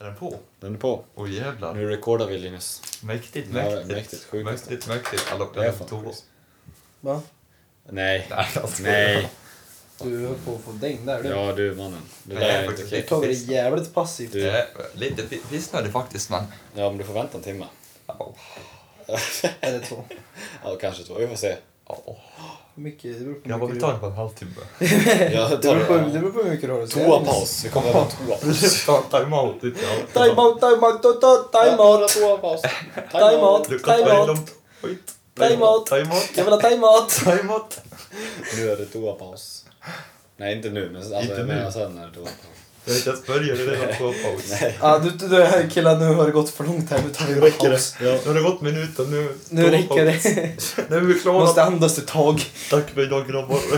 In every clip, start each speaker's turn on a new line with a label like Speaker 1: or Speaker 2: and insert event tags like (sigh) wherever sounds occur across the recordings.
Speaker 1: Är den på?
Speaker 2: Den är på.
Speaker 1: Åh jävlar.
Speaker 2: Nu rekordar vi Linus.
Speaker 1: Mäktigt,
Speaker 2: Mm. Ja,
Speaker 1: mäktigt.
Speaker 2: mäktigt, sjukt.
Speaker 1: mäktigt, mäktigt. Alla
Speaker 2: Det är
Speaker 1: planer på
Speaker 2: fan
Speaker 1: Toro.
Speaker 2: sjukt.
Speaker 3: Va?
Speaker 2: Nej.
Speaker 1: Nej, jag skojar.
Speaker 2: Nej.
Speaker 3: Du höll på att få däng där du.
Speaker 2: Ja du mannen. Det
Speaker 1: Nej,
Speaker 2: där är inte
Speaker 1: faktiskt.
Speaker 3: Du
Speaker 2: okej.
Speaker 3: tar det jävligt passivt.
Speaker 2: Du-
Speaker 1: Det är lite fi- pissnödig faktiskt, men...
Speaker 2: Ja men du får vänta en timme.
Speaker 1: Au.
Speaker 3: Eller två.
Speaker 2: Ja kanske två, vi får se.
Speaker 1: Au.
Speaker 3: Hur mycket? Det beror på hur
Speaker 1: Grabbar,
Speaker 3: mycket
Speaker 1: vi
Speaker 3: du...
Speaker 1: tar det på en halvtimme. (laughs)
Speaker 2: Jag
Speaker 3: Det beror på,
Speaker 2: tar
Speaker 3: det beror på hur mycket du har att säga.
Speaker 2: Toapaus. Vi kommer ha
Speaker 1: (laughs)
Speaker 2: toapaus.
Speaker 1: Ta time-out lite. ja.
Speaker 3: Timeout, timeout, ta- ta- timeout!
Speaker 1: (laughs)
Speaker 2: Toapaus.
Speaker 3: Timeout.
Speaker 1: Lukas
Speaker 3: Time
Speaker 1: Berglund.
Speaker 3: out.
Speaker 1: Skit.
Speaker 3: Time-out.
Speaker 1: Time-out.
Speaker 3: Jag vill ha timeout!
Speaker 1: Time-out.
Speaker 2: Nu är det toapaus. Nej inte nu men alltså,
Speaker 1: Inte
Speaker 2: jag
Speaker 1: nu.
Speaker 2: menar sen är det toapaus.
Speaker 1: Jag har inte ens börjat, det är redan två paus.
Speaker 2: Nej.
Speaker 3: Ja, du, du, du här killar, nu har det gått för långt här. Nu tar vi en paus.
Speaker 2: Ja.
Speaker 1: Nu har det gått minuten, nu...
Speaker 3: Nu räcker det.
Speaker 1: Nu är vi klara.
Speaker 3: Måste andas ett tag.
Speaker 1: Tack för idag grabbar. (laughs)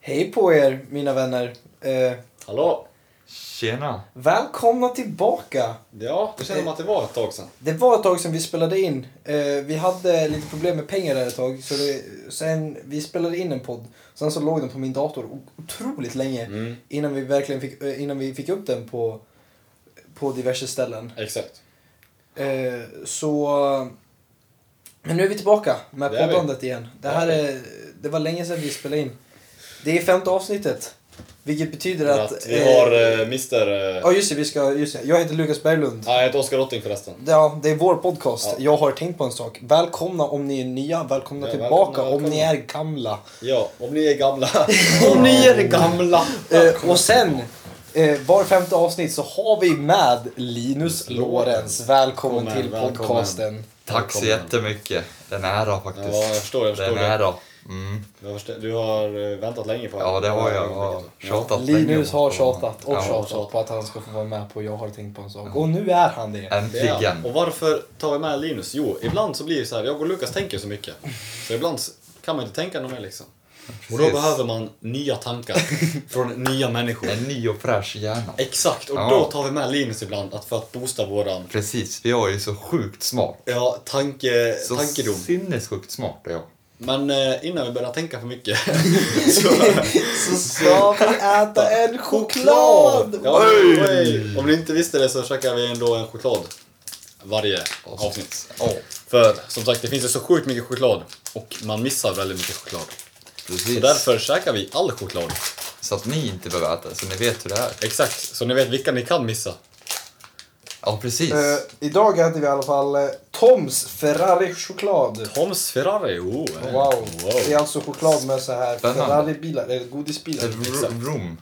Speaker 3: Hej på er, mina vänner. Eh,
Speaker 2: Hallå?
Speaker 1: Tjena.
Speaker 3: välkomna tillbaka!
Speaker 2: Ja, det känner man att det var ett tag sedan.
Speaker 3: Det var ett tag sedan vi spelade in. Eh, vi hade lite problem med pengar där ett tag. Så det, sen vi spelade in en podd. Sen så låg den på min dator o- otroligt länge.
Speaker 2: Mm.
Speaker 3: Innan vi verkligen fick, eh, innan vi fick upp den på, på diverse ställen.
Speaker 2: Exakt.
Speaker 3: Eh, så... Men nu är vi tillbaka med
Speaker 2: Det är vi.
Speaker 3: poddandet igen. Det här
Speaker 2: Ja.
Speaker 3: är, det var länge sedan vi spelade in. Det är femte avsnittet. Vilket betyder att...
Speaker 2: Att vi
Speaker 3: eh,
Speaker 2: har eh, Mr... eh,
Speaker 3: Ja just det, vi ska, just det. Jag heter Lukas Berglund.
Speaker 2: Ja, jag heter Oskar Rotting förresten.
Speaker 3: Ja, det är vår podcast.
Speaker 2: Ja.
Speaker 3: Jag har tänkt på en sak. Välkomna om ni är nya, välkomna
Speaker 2: Ja,
Speaker 3: tillbaka
Speaker 2: välkomna,
Speaker 3: om ni är gamla.
Speaker 2: Ja, om ni är gamla. (laughs) om ni är (laughs) gamla!
Speaker 3: Eh, och sen, eh, var femte avsnitt så har vi med Linus Lorenz. Välkommen
Speaker 2: Välkommen,
Speaker 3: till
Speaker 2: välkommen.
Speaker 3: podcasten.
Speaker 1: Tack så jättemycket. Det är en ära faktiskt.
Speaker 2: Ja, jag förstår, jag
Speaker 1: det är en
Speaker 2: förstår det.
Speaker 1: ära. Mm.
Speaker 2: Du har, förstå- du har eh, väntat länge på
Speaker 1: Ja, det har jag. Jag har tjatat länge
Speaker 3: Linus
Speaker 1: om
Speaker 3: har
Speaker 1: det.
Speaker 3: tjatat och
Speaker 1: Ja,
Speaker 3: tjatat på att han ska få vara med på Jag har tänkt på en sak. Och nu är han det.
Speaker 2: Ja.
Speaker 1: Äntligen.
Speaker 2: Och varför tar vi med Linus? Jo, ibland så blir det så här, jag och Lukas tänker så mycket. Så ibland s- kan man inte tänka något mer liksom. Och då
Speaker 1: Precis.
Speaker 2: behöver man
Speaker 1: (laughs)
Speaker 2: nya tankar från nya människor.
Speaker 1: En ny och fräsch hjärna.
Speaker 2: Exakt, och
Speaker 1: Ja.
Speaker 2: då tar vi med Linus ibland att för att boosta våran
Speaker 1: Precis, jag är ju så sjukt smart.
Speaker 2: ja, tanke,
Speaker 1: Så
Speaker 2: tankedom.
Speaker 1: sinnessjukt smart är jag.
Speaker 2: Men eh, innan vi börjar tänka
Speaker 1: (laughs)
Speaker 2: för mycket så...
Speaker 3: Så ska vi äta en choklad!
Speaker 2: Ja, men, oj. Om ni inte visste det så käkar vi ändå en choklad varje
Speaker 1: Alltså.
Speaker 2: avsnitt.
Speaker 1: Ja,
Speaker 2: För som sagt, det finns ju så sjukt mycket choklad och man missar väldigt mycket choklad.
Speaker 1: precis.
Speaker 2: Så därför käkar vi all choklad.
Speaker 1: Så att ni inte behöver äta, så ni vet hur det är.
Speaker 2: Exakt, så ni vet vilka ni kan missa.
Speaker 1: Ja, precis.
Speaker 3: Eh, idag äter vi i alla fall eh, Toms Ferrari-choklad.
Speaker 2: Toms Ferrari, oh, eh,
Speaker 3: Wow. Det är
Speaker 2: wow.
Speaker 3: alltså choklad med så här
Speaker 1: Spännande.
Speaker 3: Ferrari-bilar, eller godisbilar. liksom.
Speaker 1: Ett r-
Speaker 2: exakt.
Speaker 1: rum.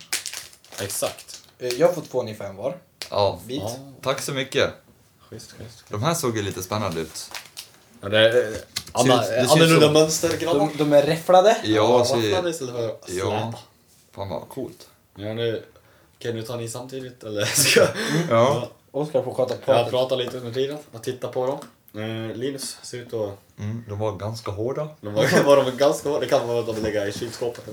Speaker 2: Exakt.
Speaker 3: Eh, Jag får två ni fem var.
Speaker 1: Ja.
Speaker 3: Bit.
Speaker 2: Ja.
Speaker 1: Tack så mycket.
Speaker 2: Schysst, schysst.
Speaker 1: De här såg ju lite spännande ut.
Speaker 2: Ja, det är eh, anna-
Speaker 1: Det ser ut- det ser ut
Speaker 2: annorlunda
Speaker 1: som-
Speaker 2: mönster, grabbar.
Speaker 3: De, de är räfflade.
Speaker 1: Ja, så...
Speaker 2: Rafflade istället för släta.
Speaker 1: Ja. Fan vad coolt.
Speaker 2: Ja, nu, kan du ta ni samtidigt eller (laughs) ska
Speaker 1: Ja.
Speaker 3: Oskar får sköta
Speaker 2: jag
Speaker 3: pratet.
Speaker 2: prata lite under tiden och titta på dem? Eh, Linus ser (laughs) ut att...
Speaker 1: Mm, de var ganska hårda.
Speaker 2: De var, var de ganska hårda, det kan vara att de ligger i kylskåpet.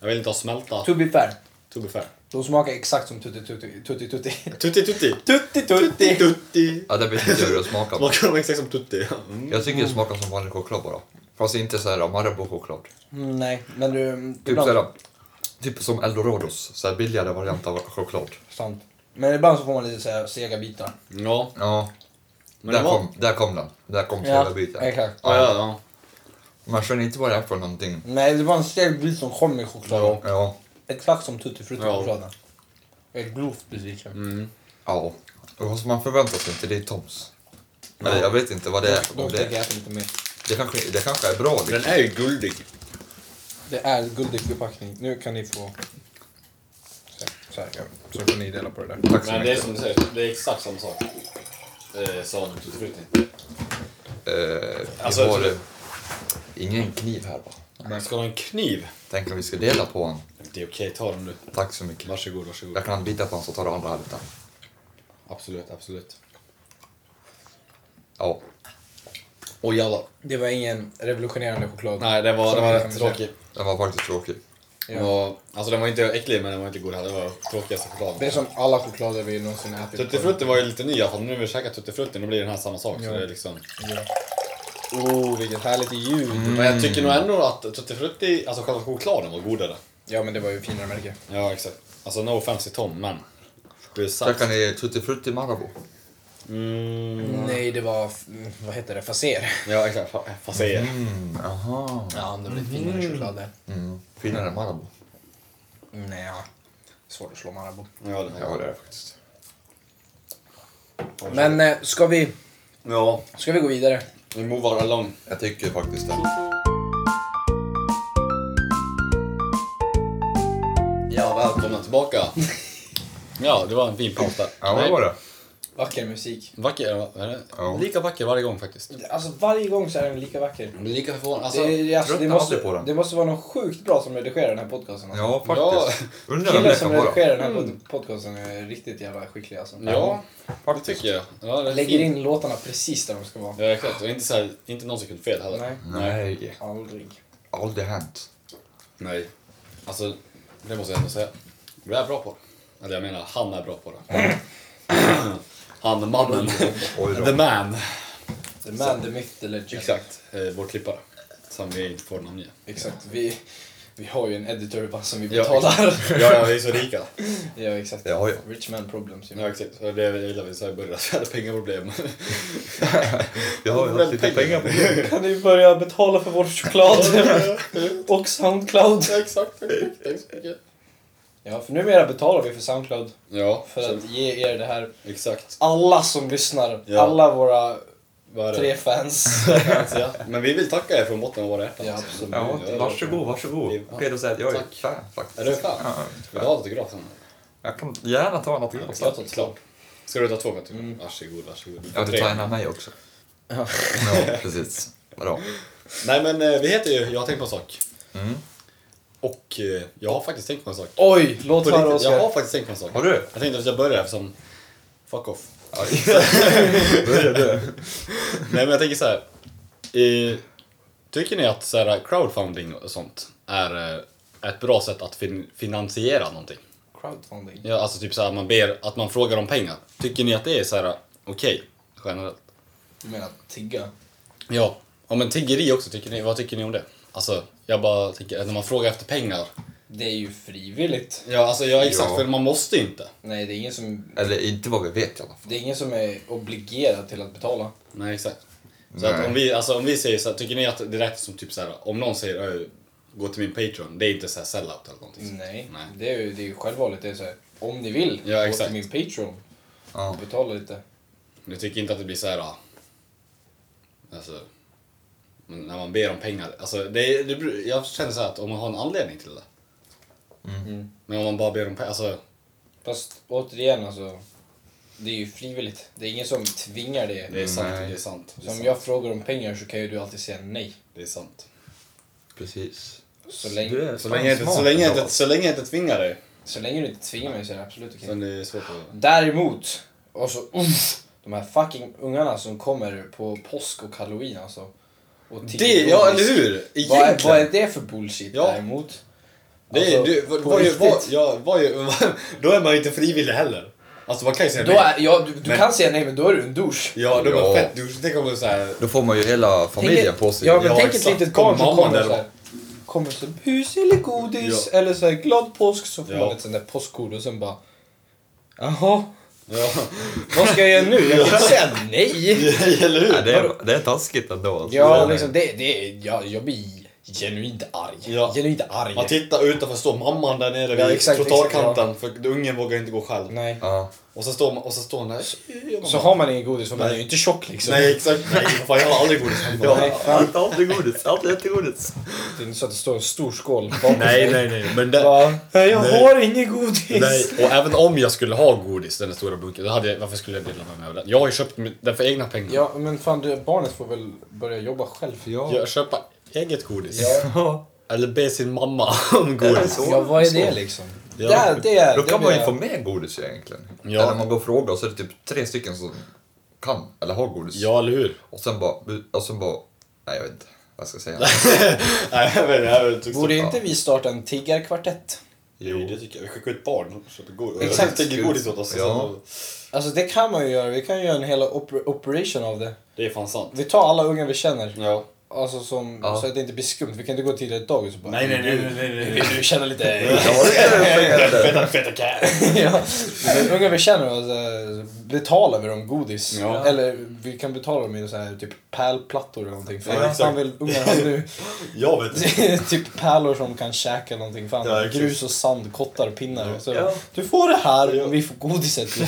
Speaker 2: Jag vill inte ha smälta
Speaker 3: To be fair,
Speaker 2: to be fair.
Speaker 3: de smakar exakt som Tutti Tutti. Tutti (laughs) Tutti.
Speaker 2: Tutti tutti!
Speaker 3: Tutti
Speaker 2: Tutti
Speaker 3: Tutti!
Speaker 2: tutti!
Speaker 1: Ja, det vet inte hur det smakar.
Speaker 2: (laughs)
Speaker 1: men
Speaker 2: Smakar de exakt som tutti? Mm.
Speaker 1: Jag tycker det smakar som vanlig choklad bara. Fast inte såhär Marabou-choklad.
Speaker 3: Mm, nej, men du...
Speaker 1: Typ såhär, typ som Eldorados. Såhär billigare variant av choklad.
Speaker 3: Sant. Men ibland så får man lite så här sega bitar.
Speaker 2: Ja.
Speaker 1: Ja,
Speaker 2: Men
Speaker 1: där,
Speaker 2: det var...
Speaker 1: kom, där kom den. Där kom
Speaker 3: Ja,
Speaker 1: sega biten.
Speaker 3: exakt.
Speaker 2: Ja, ja, ja.
Speaker 1: Man känner inte vad det är för någonting.
Speaker 3: Nej, det var en seg bit som kom med chokladen.
Speaker 2: Ja.
Speaker 1: Ja,
Speaker 3: Exakt som Tutti Frutti
Speaker 2: Ja.
Speaker 3: chokladen. Jag är grovt besviken.
Speaker 2: Mm.
Speaker 1: ja. Och som man förväntar sig inte, det är Toms. Eller jag vet inte vad det är.
Speaker 3: Då
Speaker 1: Om
Speaker 3: tänker
Speaker 1: det,
Speaker 3: jag äta lite mer.
Speaker 1: det, kanske, det kanske är bra
Speaker 2: Den
Speaker 1: liksom.
Speaker 2: är ju guldig.
Speaker 3: Det är guldig förpackning. Nu kan ni få... Så här, Så, här, ja. så kan ni dela på det där.
Speaker 1: Tack så
Speaker 2: Men det är
Speaker 1: mycket.
Speaker 2: som du säger, det är exakt samma sak. Eh, som tutti frutti.
Speaker 1: Eh, vi
Speaker 2: Alltså,
Speaker 1: Eh, har,
Speaker 2: jag tror-
Speaker 1: Ingen kniv här va?
Speaker 2: Men ska du ha en kniv?
Speaker 1: Tänk om vi ska dela på en.
Speaker 2: Det är okej, ta den du.
Speaker 1: Tack så mycket.
Speaker 2: Varsågod, varsågod.
Speaker 1: Jag kan bita på en så tar du andra halvan.
Speaker 2: Absolut, absolut.
Speaker 1: Ja.
Speaker 2: Åh jävlar.
Speaker 3: Det var ingen revolutionerande choklad.
Speaker 2: Nej, det var, det var
Speaker 3: Som
Speaker 2: rätt
Speaker 3: kan man
Speaker 2: tråkig.
Speaker 1: Den var faktiskt tråkig.
Speaker 2: Den var, alltså den var inte äcklig, men den var inte god heller. Det var tråkigaste
Speaker 3: Det är
Speaker 2: chokladen.
Speaker 3: som alla choklader vi någonsin ätit.
Speaker 2: Tuttifrutti var ju lite ny i alla fall. Nu när vi käkar tuttifrutti, då blir den här samma sak. Så
Speaker 3: Ja.
Speaker 2: det är liksom...
Speaker 3: Ja. Oh, vilket härligt ljud.
Speaker 2: Men jag tycker nog ändå att tuttifrutti, alltså själva chokladen var godare.
Speaker 3: Ja, men det var ju finare märke.
Speaker 2: Ja, exakt. Alltså no offense till Tom, men... Det är sant.
Speaker 1: Käkar ni Tutti Frutti Marabou?
Speaker 2: Mm,
Speaker 3: Nej, det var... f- mm, Vad heter det? Faser.
Speaker 2: ja, exakt. Fa- Faséer.
Speaker 1: Mm, aha.
Speaker 3: Ja, det var lite finare choklad där.
Speaker 1: Mm. Finare än Marabou.
Speaker 3: Nej, Mm, ja. Svårt att slå Marabou.
Speaker 2: Ja, det
Speaker 1: Ja, det är det faktiskt.
Speaker 3: Men eh, ska vi,
Speaker 2: Ja,
Speaker 3: ska vi gå vidare?
Speaker 2: vi movar along.
Speaker 1: Jag tycker faktiskt det.
Speaker 2: Ja, välkomna tillbaka. Ja, det var en fin paus där.
Speaker 1: Ja, vad var det?
Speaker 3: Vacker musik.
Speaker 2: Vacker, va? är det?
Speaker 1: Ja.
Speaker 2: Lika vacker varje gång faktiskt.
Speaker 3: Alltså varje gång så är den lika vacker.
Speaker 2: Jag blir lika förvånad. Alltså,
Speaker 3: Det, är- alltså, det,
Speaker 1: tröttnar
Speaker 3: måste,
Speaker 1: aldrig på den.
Speaker 3: det måste vara någon sjukt bra som redigerar den här podcasten. Alltså.
Speaker 1: Ja, faktiskt. Undrar vem
Speaker 3: Killen
Speaker 1: det
Speaker 3: som
Speaker 1: kan vara.
Speaker 3: redigerar den här pod- podcasten är riktigt jävla skicklig alltså.
Speaker 2: ja, det
Speaker 1: Faktiskt.
Speaker 2: tycker jag. Ja, det är
Speaker 3: Lägger
Speaker 2: fint.
Speaker 3: in låtarna precis där de ska vara.
Speaker 2: Ja, exakt. Och inte, så här, inte någon sekund fel heller.
Speaker 3: Nej.
Speaker 1: Nej,
Speaker 3: Aldrig.
Speaker 1: aldrig hänt.
Speaker 2: Nej. Alltså, det måste jag ändå säga. Du är bra på det. Eller jag menar, han är bra på det. (clears throat) han, mannen.
Speaker 1: Oj då.
Speaker 2: The man.
Speaker 3: The man, the myth, the legend.
Speaker 2: Exakt. Eh, vår klippare. Som vi inte får namnge.
Speaker 3: Exakt. Vi, vi har ju en editor bara som vi
Speaker 2: Ja,
Speaker 3: betalar.
Speaker 2: Ja, ja, vi är så rika.
Speaker 3: (laughs) ja, exakt.
Speaker 1: Ja, ja.
Speaker 3: Rich man problems. ju.
Speaker 2: Ja, exakt. Det var det jag gillade vi sa i början, att vi (laughs) hade pengaproblem.
Speaker 1: Jag har ju haft lite pengar på
Speaker 3: Kan ni börja betala för vår (laughs) choklad? Och Soundcloud.
Speaker 2: exakt, exakt. Tack så mycket.
Speaker 3: Ja, för numera betalar vi för Soundcloud.
Speaker 2: Ja,
Speaker 3: För
Speaker 2: så-
Speaker 3: att ge er det här.
Speaker 2: exakt.
Speaker 3: Alla som lyssnar,
Speaker 2: Ja.
Speaker 3: alla våra
Speaker 2: Vad är det? (laughs)
Speaker 3: tre fans.
Speaker 2: Ja, Men vi vill tacka er från botten av våra hjärtan.
Speaker 3: Ja,
Speaker 2: alltså.
Speaker 3: absolut.
Speaker 1: Ja, varsågod, varsågod.
Speaker 2: Ja.
Speaker 1: Okej, då säger jag att jag är
Speaker 2: Tack.
Speaker 1: fan faktiskt.
Speaker 2: Är du fan?
Speaker 1: Ja,
Speaker 2: Vill du ha autograf sen?
Speaker 1: jag kan gärna ta en
Speaker 2: Ja,
Speaker 1: autograf.
Speaker 2: klart att klart. Ska du ta två för att
Speaker 3: Mm.
Speaker 2: Varsågod, varsågod.
Speaker 1: Ja, du
Speaker 2: får tre.
Speaker 1: tar en av mig också.
Speaker 3: Ja.
Speaker 1: Ja, precis. Bra.
Speaker 2: Nej men eh, vi heter ju Jag har tänkt på en sak.
Speaker 1: Mm.
Speaker 2: Och eh, jag har faktiskt tänkt på en sak.
Speaker 3: Oj, låt
Speaker 2: På
Speaker 3: höra
Speaker 2: riktigt, jag har
Speaker 3: Oskar.
Speaker 2: faktiskt tänkt på en sak.
Speaker 1: Har du?
Speaker 2: Jag tänkte att jag börjar som Fuck off.
Speaker 1: Ja, Börjar du?
Speaker 2: Nej men jag tänker så här. Eh, tycker ni att så här, crowdfunding och sånt är eh, ett bra sätt att fin- finansiera någonting?
Speaker 3: Crowdfunding.
Speaker 2: Ja, alltså typ så här, man ber att man frågar om pengar. Tycker ni att det är så här okej generellt?
Speaker 3: Du menar tigga?
Speaker 2: Ja. ja, men tiggeri också, tycker ni, vad tycker ni om det? Alltså, jag bara tänker att när man frågar efter pengar.
Speaker 3: Det är ju frivilligt.
Speaker 2: Ja, alltså ja, exakt,
Speaker 1: Ja.
Speaker 2: för man måste inte.
Speaker 3: Nej, det är ingen som...
Speaker 1: Eller inte vad vi vet i alla fall.
Speaker 3: Det är ingen som är obligerad till att betala.
Speaker 2: Nej, exakt. Så
Speaker 1: Nej.
Speaker 2: att om vi, alltså om vi säger så här, tycker ni att det räknas som typ så här, om någon säger "Ö, gå till min Patreon, det är inte så här sellout eller någonting. sånt.
Speaker 3: Nej,
Speaker 2: Nej.
Speaker 3: Det, är ju, det är ju självvalligt. Det är så här, om ni vill,
Speaker 2: Ja,
Speaker 3: gå
Speaker 2: exakt.
Speaker 3: till min Patreon
Speaker 1: Ja.
Speaker 3: och betala lite.
Speaker 2: Jag tycker inte att det blir så här, ah, alltså, men när man ber om pengar. Alltså, det, det, bru- jag känner så här att om man har en anledning till det.
Speaker 3: Mm.
Speaker 2: Men om man bara ber om pengar, alltså,
Speaker 3: Fast återigen alltså, det är ju frivilligt. Det är ingen som tvingar dig.
Speaker 2: det är sant,
Speaker 1: Nej.
Speaker 2: det är sant. Det är
Speaker 3: Som
Speaker 2: sant.
Speaker 3: jag frågar om pengar så kan ju du alltid säga nej.
Speaker 2: Det är sant.
Speaker 1: Precis.
Speaker 3: Så länge-
Speaker 1: Du är
Speaker 2: Så
Speaker 1: fan
Speaker 2: länge, jag inte, så,
Speaker 1: smart
Speaker 2: länge jag
Speaker 1: ändå.
Speaker 2: inte, så länge jag inte tvingar dig.
Speaker 3: Så länge du inte tvingar mig så är det absolut okej.
Speaker 2: Sen är det svårt att...
Speaker 3: Däremot, och så uff, de här fucking ungarna som kommer på påsk och halloween alltså. Och tigger
Speaker 2: Det, ja
Speaker 3: godis.
Speaker 2: eller hur!
Speaker 3: Vad är, vad är
Speaker 2: Egentligen!
Speaker 3: det för bullshit
Speaker 2: Ja.
Speaker 3: däremot?
Speaker 2: Det är,
Speaker 3: Alltså,
Speaker 2: du, vad,
Speaker 3: på
Speaker 2: vad,
Speaker 3: riktigt.
Speaker 2: vad, ja, vad, (laughs) då är man ju inte frivillig heller. Alltså man kan ju säga
Speaker 3: Då är, ja, du, du
Speaker 2: Men-
Speaker 3: kan säga nej men då är du en douche.
Speaker 2: Ja, då är man
Speaker 1: Ja.
Speaker 2: fett douche. Tänk om man såhär...
Speaker 1: Då får man ju hela familjen
Speaker 3: Tänk ett-
Speaker 1: på sig.
Speaker 3: Ja, men
Speaker 2: Ja,
Speaker 3: tänk ett
Speaker 2: exakt.
Speaker 3: litet barn som
Speaker 2: Mamman
Speaker 3: kommer
Speaker 2: där
Speaker 3: så här, kommer så här, bus eller godis
Speaker 2: Ja.
Speaker 3: eller så här, glad påsk så får
Speaker 2: Ja.
Speaker 3: man ett sånt där påskkort och sen bara jaha,
Speaker 2: Ja. (laughs)
Speaker 3: vad ska jag göra nu? Jag kan inte säga nej.
Speaker 2: eller hur?
Speaker 1: Nej, det, är, det är taskigt ändå. alltså.
Speaker 3: Ja,
Speaker 1: Det är-
Speaker 3: liksom det, det är- jag, jag blir genuint arg.
Speaker 2: Ja.
Speaker 3: Genuint arg.
Speaker 2: Man tittar utanför, står mamman där nere vid
Speaker 3: Ja, exakt,
Speaker 2: trottoarkanten för ungen vågar inte gå själv.
Speaker 3: Nej.
Speaker 1: Ja.
Speaker 2: Och så står man, och så står hon där...
Speaker 3: Så har man ingen godis för man
Speaker 2: Nej.
Speaker 3: är ju inte tjock liksom.
Speaker 2: Nej exakt, nej fan jag har aldrig godis hemma.
Speaker 3: Nej, fan.
Speaker 1: Alltid godis, alltid ättegodis.
Speaker 3: Det är inte så att det står en stor skål bakom.
Speaker 2: Nej nej nej, men det...
Speaker 3: Bara, "Nej, jag
Speaker 2: Nej.
Speaker 3: har ingen godis.
Speaker 2: Nej, och även om jag skulle ha godis, den där stora bunken, då hade jag, varför skulle jag dela med mig av den? Jag har ju köpt den för egna pengar.
Speaker 3: Ja, men fan det, barnet får väl börja jobba själv.
Speaker 1: Ja.
Speaker 2: Jag köpa eget godis.
Speaker 1: Ja.
Speaker 2: Eller be sin mamma (laughs) om godis.
Speaker 1: så?
Speaker 3: Ja, vad är
Speaker 1: Så
Speaker 3: det?
Speaker 1: liksom?
Speaker 2: Ja.
Speaker 3: Det, det,
Speaker 1: Då
Speaker 3: det
Speaker 1: kan
Speaker 3: blir
Speaker 1: man ju
Speaker 3: jag-
Speaker 1: få med godis egentligen.
Speaker 2: Ja.
Speaker 1: Eller man går och frågar och så är det typ tre stycken som kan eller har godis.
Speaker 2: Ja, eller hur?
Speaker 1: Och sen bara, och sen bara, nej jag vet inte vad jag ska
Speaker 2: (laughs)
Speaker 1: säga.
Speaker 2: Nej, jag vet inte, jag vet inte.
Speaker 3: Borde inte vi starta en tiggarkvartett?
Speaker 2: Jo, det tycker jag. Vi skickar ut barn så att det går.
Speaker 3: Exakt.
Speaker 2: Jag tänker godis åt oss.
Speaker 1: Ja.
Speaker 3: Alltså det kan man ju göra, vi kan ju göra en hel oper- operation av det.
Speaker 2: Det är fan sant.
Speaker 3: Vi tar alla ungar vi känner,
Speaker 2: Ja.
Speaker 3: alltså som,
Speaker 1: Ja.
Speaker 3: så att det inte blir skumt. Vi kan inte gå till ett dagis och bara
Speaker 2: Nej, nej, nej, nej, nej, nej.
Speaker 3: Vill du
Speaker 2: (laughs)
Speaker 3: känna lite...
Speaker 1: Ja, det kan jag tänka mig.
Speaker 2: Feta, feta cat.
Speaker 3: (laughs) ja. Men ungar vi känner, alltså, betalar vi dem godis?
Speaker 2: Ja.
Speaker 3: Eller vi kan betala dem i så här, typ pärlplattor eller någonting. Fan,
Speaker 2: Ja,
Speaker 3: vad
Speaker 2: exakt.
Speaker 3: fan vill ungar ha nu? (laughs)
Speaker 2: Jag vet inte.
Speaker 3: typ pärlor som kan käka någonting. Fan,
Speaker 2: Ja, exakt.
Speaker 3: grus och sand, kottar och pinnar. Så,
Speaker 1: Ja.
Speaker 3: Du får det här
Speaker 2: Ja.
Speaker 3: och vi får godiset
Speaker 2: (laughs)
Speaker 3: du,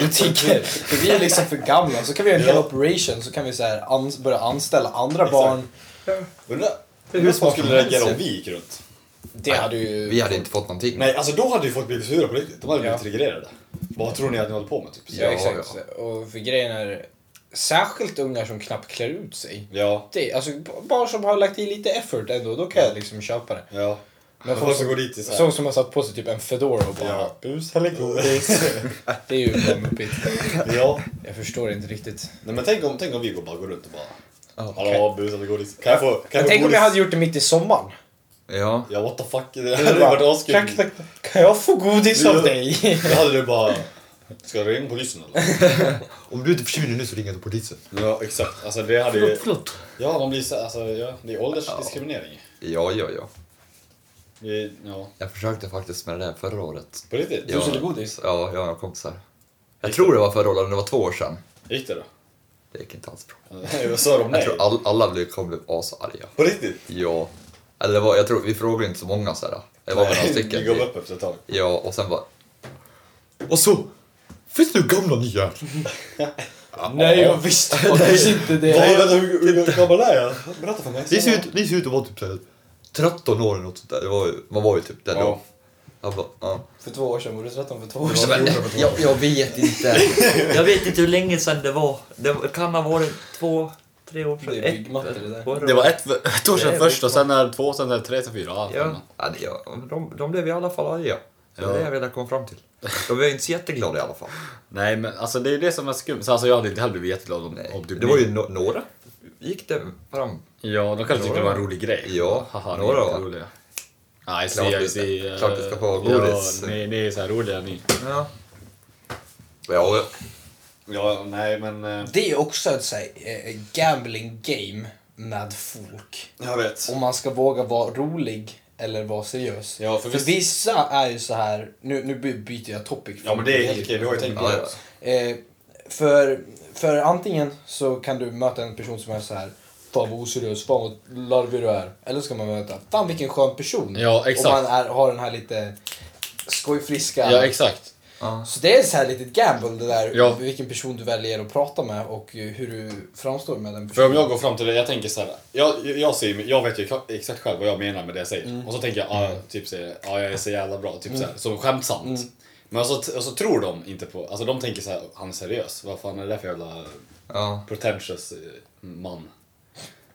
Speaker 3: du tycker. För vi är liksom för gamla. Så kan vi göra en hel
Speaker 2: Ja.
Speaker 3: operation så kan vi så här ans- börja anställa andra
Speaker 2: Exakt.
Speaker 3: barn.
Speaker 2: Undrar
Speaker 1: är
Speaker 2: hur
Speaker 1: smart.
Speaker 2: folk skulle reagera om vi gick runt.
Speaker 3: Det hade ju...
Speaker 1: Vi hade inte fått någonting.
Speaker 2: Nej, alltså då hade ju folk blivit sura på riktigt. De hade
Speaker 3: Ja.
Speaker 2: blivit triggerade. Vad tror ni att ni håller på med typ?
Speaker 3: Ja, exakt. Och för grejen är, särskilt ungar som knappt klär ut sig.
Speaker 2: Ja.
Speaker 3: det, alltså b- barn som har lagt i lite effort ändå, då kan jag liksom köpa det.
Speaker 2: Ja.
Speaker 3: Men
Speaker 2: Men
Speaker 3: folk
Speaker 2: folk som går dit i såhär.
Speaker 3: Så som har satt på sig typ en fedora och bara,
Speaker 2: Ja. Bus eller (laughs) godis?
Speaker 3: det är ju bara muppigt.
Speaker 2: ja.
Speaker 3: Jag förstår inte riktigt.
Speaker 2: Nej men tänk om, tänk om vi går bara går runt och bara...
Speaker 1: Ja.
Speaker 2: Hallå, bus eller godis? Kan jag få, kan
Speaker 3: Men
Speaker 2: jag få
Speaker 3: tänk om
Speaker 2: godis?
Speaker 3: jag hade gjort det mitt i sommaren.
Speaker 1: Ja.
Speaker 2: Ja, what the fuck. (laughs) Det hade ju varit askul.
Speaker 3: kan, kan, kan jag få godis
Speaker 2: Ja.
Speaker 3: av dig?
Speaker 2: Då hade du bara... Ska jag ringa polisen eller?
Speaker 1: Om du inte försvinner nu så ringer jag till polisen.
Speaker 2: Ja, exakt. Alltså det hade ju...
Speaker 1: förlåt.
Speaker 2: Ja, man blir så, alltså, ja, det är åldersdiskriminering.
Speaker 1: Ja, ja, ja.
Speaker 2: Det är- Ja,
Speaker 1: Jag försökte faktiskt med det där förra året.
Speaker 2: på riktigt.
Speaker 1: Ja.
Speaker 3: Du sålde godis?
Speaker 1: Ja, jag har några kompisar. Jag tror det var förra året, men det var två år sedan.
Speaker 2: Gick det då? (laughs)
Speaker 1: Det gick inte alls bra.
Speaker 2: Vad sa de
Speaker 1: Jag
Speaker 2: nej?
Speaker 1: tror all, alla blev, kom blev asarga.
Speaker 2: På riktigt?
Speaker 1: Ja. Eller det var, jag tror, vi frågade inte så många så här. Det var väl några
Speaker 2: Det gav
Speaker 1: stycken.
Speaker 2: upp efter ett tag.
Speaker 1: Ja, och sen bara... Och så! Finns det gamla nya?
Speaker 3: Nej, jag
Speaker 2: (laughs)
Speaker 3: visste faktiskt inte
Speaker 2: Vad,
Speaker 3: det.
Speaker 2: vänta, hur, hur gammal är jag? Berätta för mig.
Speaker 1: Ni ser ut, ni ser ut att vara typ såhär 13 år eller något sånt där. Det var, ju- man var ju typ där då.
Speaker 2: Ja.
Speaker 1: Jag bara, ja.
Speaker 3: För två år sedan, var du 13 för två år
Speaker 1: Och så
Speaker 3: sedan?
Speaker 1: bara, jag, jag vet inte. (laughs)
Speaker 4: Jag vet inte hur länge sedan det var. Det kan ha varit två, tre år sedan.
Speaker 3: Det är Big Mac, det där.
Speaker 4: år.
Speaker 2: Det var ett, ett år
Speaker 4: Det
Speaker 2: sedan
Speaker 4: är
Speaker 2: först
Speaker 4: bra.
Speaker 2: och sen är det två, sen är det tre, sen fyra. Ja,
Speaker 4: Ja.
Speaker 1: Ja, det, ja, de, de blev i alla fall arga. Det var
Speaker 2: Ja.
Speaker 1: det jag ville komma fram till. De var ju inte så jätteglada i alla fall.
Speaker 2: Nej men alltså det är det som är skumt. Så, Alltså jag hade inte heller blivit jätteglad om,
Speaker 1: Nej.
Speaker 2: om du
Speaker 1: det var ju no några. Gick det fram?
Speaker 2: Ja, de kanske tyckte det var en rolig grej.
Speaker 1: Ja,
Speaker 2: Haha, ni
Speaker 1: några
Speaker 2: är
Speaker 1: va?
Speaker 2: roliga. Nej, jag
Speaker 1: Klart
Speaker 2: ser,
Speaker 1: vi-
Speaker 2: jag ser.
Speaker 1: klart vi ska få
Speaker 2: eh,
Speaker 1: godis.
Speaker 2: Ja, ni, ni är så här roliga ni.
Speaker 1: Ja. Ja,
Speaker 2: Ja, nej men... eh,
Speaker 3: Det är också ett så här, eh, gambling game med folk.
Speaker 2: Jag vet.
Speaker 3: om man ska våga vara rolig eller vara seriös.
Speaker 2: Ja, för
Speaker 3: för
Speaker 2: visst-
Speaker 3: vissa är ju så här, nu, nu by- byter jag topic.
Speaker 2: Ja men det är helt okej, vi har ju tänkt på
Speaker 1: Ja,
Speaker 2: det
Speaker 1: ja.
Speaker 2: också.
Speaker 3: Eh, för, för antingen så kan du möta en person som är så här, fan vad oseriös, fan vad larvig du är. Eller så kan man möta, fan vilken skön person.
Speaker 2: Ja,
Speaker 3: Och
Speaker 2: exakt.
Speaker 3: man är, har den här lite skojfriska.
Speaker 2: Ja, exakt.
Speaker 1: ja.
Speaker 3: så det är så här litet gamble det där,
Speaker 2: Ja.
Speaker 3: vilken person du väljer att prata med och eh, hur du framstår med den
Speaker 2: För
Speaker 3: personen.
Speaker 2: om jag går fram till dig, jag tänker så här, jag, jag, ser, ju- jag vet ju exakt- exakt själv vad jag menar med det jag säger.
Speaker 1: Mm.
Speaker 2: Och så tänker jag, ah, typ säger, ah, jag är så jävla bra, typ så här, som skämtsamt.
Speaker 1: Mm.
Speaker 2: Men så, och så tror de inte på, alltså de tänker så här, han är seriös, vad fan är det där för jävla
Speaker 1: ja.
Speaker 2: pretentious eh, man?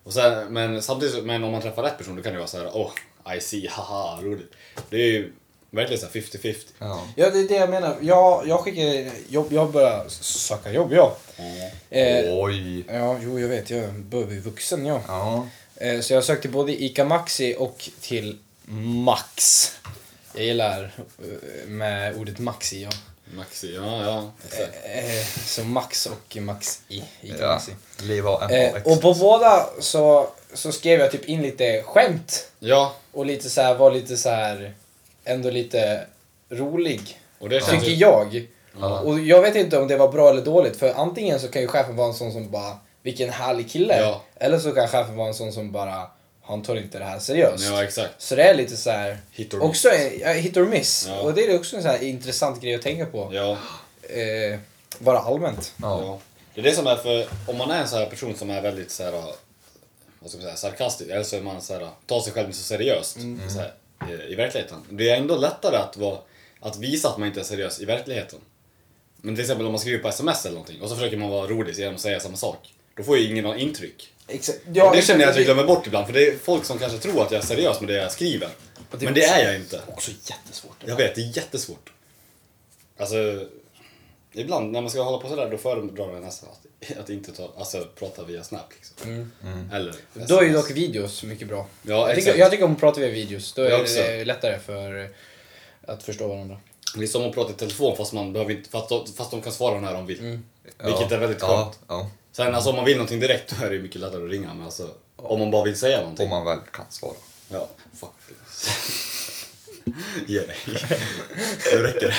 Speaker 2: Och sen, men samtidigt, så- men om man träffar rätt person då kan det vara så här, oh, I see, haha, roligt. Det är ju verkligen så här 50-50.
Speaker 1: ja.
Speaker 3: Ja, det är det jag menar. Jag, jag skickar jobb, jag börjar söka jobb, ja. Eh,
Speaker 1: Oj.
Speaker 3: ja, jo, jag vet, jag börjar bli vuxen, ja.
Speaker 1: Ja.
Speaker 3: Eh, så jag sökte både Ica Maxi och till Max. Jag gillar eh, med ordet Maxi, ja.
Speaker 2: Maxi, ja, ja. exakt.
Speaker 3: Eh, så Max och Maxi, Ica
Speaker 1: ja.
Speaker 3: Maxi.
Speaker 1: Leva och
Speaker 3: Eh,
Speaker 1: MHX.
Speaker 3: och på båda så, så skrev jag typ in lite skämt
Speaker 2: Ja,
Speaker 3: och lite så här, var lite så här, ändå lite rolig.
Speaker 2: och det känns
Speaker 3: Tycker
Speaker 2: ju...
Speaker 3: jag. Och jag vet inte om det var bra eller dåligt. För antingen så kan ju chefen vara en sån som bara, vilken härlig kille.
Speaker 2: Ja.
Speaker 3: Eller så kan chefen vara en sån som bara, han tar inte det här seriöst.
Speaker 2: Ja, exakt.
Speaker 3: Så det är lite så här,
Speaker 2: Hit or miss.
Speaker 3: också en, ja, hit or miss.
Speaker 2: Ja.
Speaker 3: Och det är också en så här intressant grej att tänka på.
Speaker 2: Ja.
Speaker 3: Eh, bara allmänt.
Speaker 1: ja.
Speaker 2: Ja. Det är det som är för, om man är en sån här person som är väldigt så här, vad ska man säga, sarkastisk, eller så är man så här, tar sig själv så seriöst så här, i, i verkligheten. Det är ändå lättare att, vara, att visa att man inte är seriös i verkligheten. Men till exempel om man skriver på sms eller någonting och så försöker man vara rolig genom att säga samma sak. Då får ju ingen något intryck.
Speaker 3: Exakt. Ja,
Speaker 2: det känner jag att jag
Speaker 3: det-
Speaker 2: glömmer bort ibland, för det är folk som kanske tror att jag är seriös med det jag skriver. Men det är jag inte.
Speaker 3: Också jättesvårt.
Speaker 2: Jag vet, det är jättesvårt. Alltså, ibland när man ska hålla på sådär då föredrar jag nästan att, att inte ta, alltså, prata via Snap. Liksom.
Speaker 1: Mm.
Speaker 2: Eller
Speaker 3: Då är ju
Speaker 2: SMS.
Speaker 3: dock videos mycket bra.
Speaker 2: Ja,
Speaker 3: jag, tycker,
Speaker 2: exakt.
Speaker 3: jag tycker om att prata via videos. Då är
Speaker 2: Jag
Speaker 3: det
Speaker 2: också.
Speaker 3: lättare för att förstå varandra.
Speaker 2: Det är som att prata i telefon fast, man behöver inte, fast, de, fast de kan svara när de vill.
Speaker 1: Mm. Ja.
Speaker 2: Vilket är väldigt
Speaker 1: ja,
Speaker 2: skönt.
Speaker 1: Ja,
Speaker 2: Sen alltså, om man vill någonting direkt då är det ju mycket lättare att ringa. Men alltså, om man bara vill säga någonting.
Speaker 1: om man väl kan svara.
Speaker 2: Ja, fuck. (laughs) Ge dig. Nu räcker det.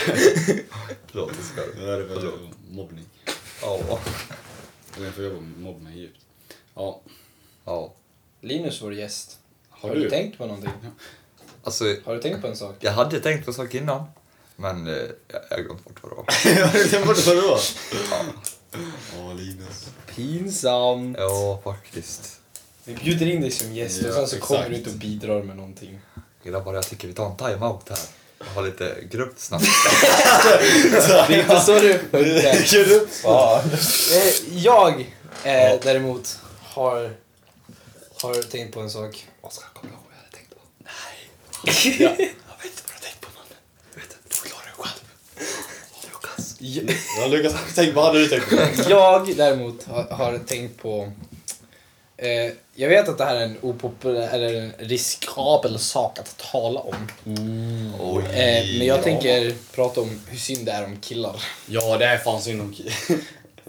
Speaker 1: Förlåt, det ska
Speaker 2: Nu är det väl mobbning.
Speaker 1: Ja.
Speaker 2: Jag får jobba med mobbning djupt. Ja,
Speaker 1: ja.
Speaker 3: Linus, vår gäst.
Speaker 2: har,
Speaker 3: Har, du? tänkt på någonting?
Speaker 1: Alltså,
Speaker 3: Har du tänkt på en sak?
Speaker 1: jag hade tänkt på en sak innan. Men eh, jag jag har glömt bort vad det var.
Speaker 2: (laughs) Ja, det borde vara då. Ja, Linus.
Speaker 3: Pinsamt.
Speaker 1: Ja, faktiskt.
Speaker 3: Vi bjuder in dig som gäst
Speaker 2: Ja,
Speaker 3: och sen så
Speaker 2: exakt.
Speaker 3: kommer du inte och bidrar med någonting.
Speaker 1: Grabbar, jag tycker vi tar en time-out här. Jag har lite gruppsnack.
Speaker 3: Det är inte så (laughs) du funkar.
Speaker 2: Kör du?
Speaker 3: Eh, Jag eh, däremot har, har tänkt på en sak.
Speaker 1: Oskar, kommer du ihåg vad jag hade tänkt på?
Speaker 3: (laughs)
Speaker 1: Jag vet inte, förklara det själv. Lukas.
Speaker 3: Jag-
Speaker 2: Ja, Lukas, tänk vad hade du tänkt på?
Speaker 3: Jag däremot har, har tänkt på... Eh, jag vet att det här är en opopulär, eller en riskabel sak att tala om.
Speaker 1: Oj.
Speaker 3: Eh, men jag
Speaker 2: Ja.
Speaker 3: tänker prata om hur synd det är om killar.
Speaker 2: Ja, det är fan synd om ki-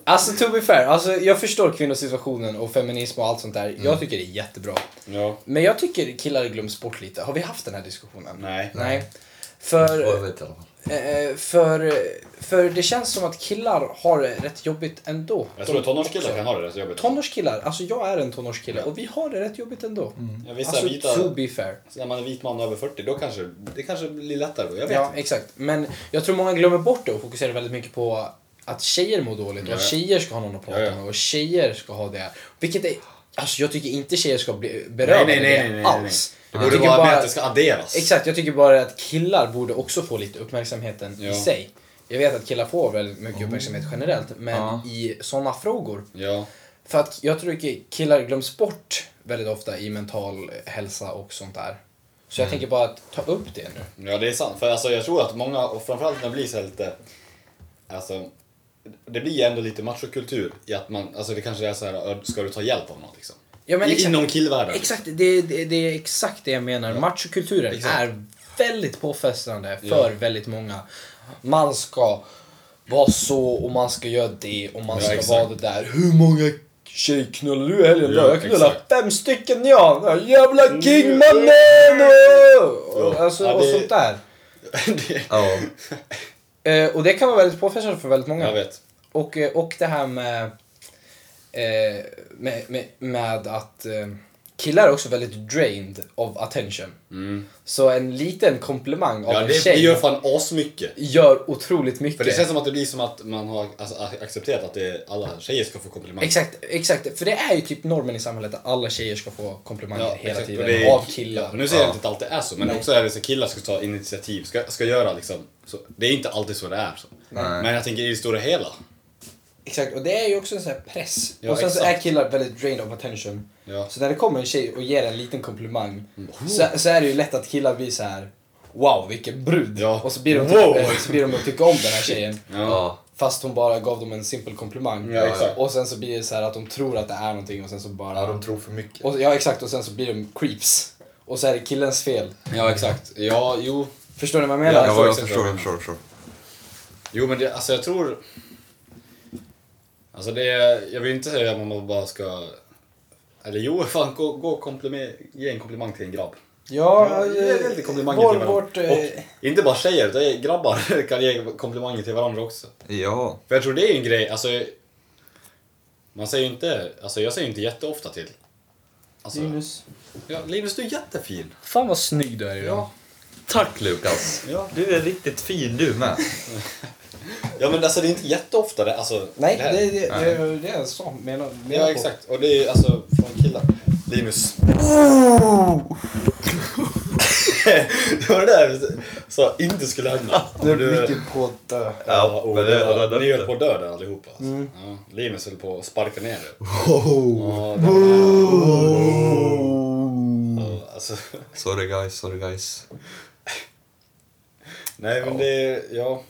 Speaker 3: Alltså to be fair, alltså, jag förstår kvinnosituationen och feminism och allt sånt där. Jag tycker det är jättebra.
Speaker 2: Ja.
Speaker 3: Men jag tycker killar glöms bort lite. Har vi haft den här diskussionen?
Speaker 2: Nej.
Speaker 3: Nej.
Speaker 1: Jag
Speaker 3: För,
Speaker 1: vet i alla fall.
Speaker 3: eh, för, för det känns som att killar har det rätt jobbigt ändå.
Speaker 2: Jag tror att
Speaker 3: De
Speaker 2: tonårskillar
Speaker 3: också.
Speaker 2: kan ha det rätt jobbigt.
Speaker 3: Tonårskillar, alltså jag är en tonårskille och vi har det rätt jobbigt ändå.
Speaker 2: Ja, vissa
Speaker 3: Alltså
Speaker 2: vita...
Speaker 3: to be fair.
Speaker 2: Så när man är vit man över 40, då kanske det kanske blir lättare då. Jag vet
Speaker 3: Ja,
Speaker 2: inte.
Speaker 3: exakt. Men jag tror många glömmer bort det och fokuserar väldigt mycket på att tjejer mår dåligt och att
Speaker 2: Ja, ja.
Speaker 3: tjejer ska ha någon att prata
Speaker 2: Ja, ja.
Speaker 3: med och tjejer ska ha det. Vilket är... Alltså jag tycker inte tjejer ska bli berövade det alls.
Speaker 2: Det
Speaker 3: Jag
Speaker 2: borde
Speaker 3: tycker
Speaker 2: vara
Speaker 3: bara-
Speaker 2: med att det ska adderas.
Speaker 3: Exakt, jag tycker bara att killar borde också få lite uppmärksamheten i
Speaker 2: Ja.
Speaker 3: sig. Jag vet att killar får väldigt mycket uppmärksamhet generellt, men
Speaker 1: Ja.
Speaker 3: i sådana frågor.
Speaker 2: Ja.
Speaker 3: För att jag tycker killar glöms bort väldigt ofta i mental hälsa och sånt där. Så
Speaker 2: Mm.
Speaker 3: jag tänker bara att ta upp det nu.
Speaker 2: ja, det är sant. För alltså, jag tror att många, och framförallt när det blir så här lite... Alltså, det blir ändå lite machokultur i att man, alltså det kanske är så här, "Ö, ska du ta hjälp av något liksom?
Speaker 3: Ja, men
Speaker 2: I-
Speaker 3: exakt.
Speaker 2: Inom killvärlden.
Speaker 3: Exakt, det, det, det är exakt det jag menar. Machokulturen
Speaker 2: Exakt.
Speaker 3: är väldigt påfrestande för väldigt många. Man ska vara så och man ska göra det och man
Speaker 2: Ja,
Speaker 3: ska
Speaker 2: exakt.
Speaker 3: vara det där. Hur många tjejknullar du i helgen då?
Speaker 2: Ja,
Speaker 3: Jag knullar
Speaker 2: exakt. Mm.
Speaker 3: fem stycken ja! Den här Jävla kingmannen!
Speaker 2: Ja,
Speaker 3: Och, alltså,
Speaker 2: ja,
Speaker 3: och
Speaker 2: det-
Speaker 3: sånt där.
Speaker 2: (laughs) Det-
Speaker 1: Ja.
Speaker 3: Eh, och det kan vara väldigt påfrestande för väldigt många.
Speaker 2: jag vet.
Speaker 3: Och, eh, och det här med, eh, med, med, med att eh, killar är också väldigt drained of attention.
Speaker 2: Mm.
Speaker 3: Så en liten komplimang av
Speaker 2: Ja,
Speaker 3: en
Speaker 2: det, det
Speaker 3: tjej
Speaker 2: gör
Speaker 3: gör,
Speaker 2: fan asmycket.
Speaker 3: otroligt mycket.
Speaker 2: För det känns som att det blir som att man har alltså, a- accepterat att det är, alla tjejer ska få komplimanger.
Speaker 3: Exakt, exakt. För det är ju typ normen i samhället att alla tjejer ska få komplimanger hela
Speaker 2: exakt.
Speaker 3: tiden
Speaker 2: Och det är-
Speaker 3: av killar.
Speaker 2: Ja, nu säger jag inte att det alltid är så, men också är det så att killar ska ta initiativ, ska, ska göra liksom. Så, det är inte alltid så det är. Så.
Speaker 1: Nej.
Speaker 2: Men jag tänker i det stora hela.
Speaker 3: Exakt, och det är ju också en sån här press.
Speaker 2: Ja,
Speaker 3: och sen så är
Speaker 2: exakt.
Speaker 3: killar väldigt drained of attention.
Speaker 2: Ja. Mm.
Speaker 3: Så när det kommer en tjej och ger en liten komplimang så, så är det ju lätt att killar blir så här Wow, vilken brud!
Speaker 2: Ja.
Speaker 3: Och så blir, de
Speaker 2: Wow.
Speaker 3: typ, eh, så blir de att tycka om den här tjejen.
Speaker 1: Ja.
Speaker 3: Fast hon bara gav dem en simpel komplimang.
Speaker 2: Ja, exakt.
Speaker 3: Och sen så blir det så här att de tror att det är någonting och sen så bara...
Speaker 1: Ja, de tror för mycket.
Speaker 3: och, ja exakt, och sen så blir de creeps. Och så är det killens fel.
Speaker 2: ja, exakt. Ja, jo.
Speaker 3: Förstår ni vad jag menar?
Speaker 2: Ja,
Speaker 1: Ja, jag
Speaker 2: förstår,
Speaker 1: förstår, jag
Speaker 2: jag
Speaker 1: förstår, jag förstår.
Speaker 2: Jo, men det, alltså jag tror... Alltså det är, jag vill inte säga att man bara ska... Eller jo, (laughs) fan gå, gå och komplime- ge en komplimang till en grabb.
Speaker 3: Ja,
Speaker 2: Ja, ge lite komplimanger till
Speaker 3: vår,
Speaker 2: varandra.
Speaker 3: vårt... eh,
Speaker 2: Inte bara tjejer, utan grabbar (laughs) kan ge komplimanger till varandra också.
Speaker 1: Ja.
Speaker 2: För jag tror det är en grej, alltså... Man säger ju inte, alltså jag säger inte jätteofta till. Alltså,
Speaker 3: Linus.
Speaker 2: Ja, Linus, du är jättefin.
Speaker 3: Fan vad snygg du är idag.
Speaker 1: Tack Lukas.
Speaker 2: Ja,
Speaker 4: Du är riktigt fin du med.
Speaker 2: ja men alltså det är inte jätteofta det, alltså.
Speaker 3: Nej,
Speaker 2: det
Speaker 3: det,
Speaker 2: här-
Speaker 3: det, det, det, är en sån menar, menar
Speaker 2: Ja,
Speaker 3: på.
Speaker 2: exakt. Och det
Speaker 3: Oh!
Speaker 2: är ju alltså från killar. Linus. (laughs) det var det där vi sa inte skulle hända.
Speaker 3: Det
Speaker 2: Och du-
Speaker 3: är mycket på att eh, dö.
Speaker 2: Ja, och
Speaker 1: men det har räddat
Speaker 2: ni höll
Speaker 1: det.
Speaker 2: på att dö där allihopa. Alltså.
Speaker 3: Mm.
Speaker 2: Ja, Linus höll på att sparka ner er. Ja, det- Ja, alltså, (laughs)
Speaker 1: Sorry guys, sorry guys.
Speaker 2: nej men det, ja.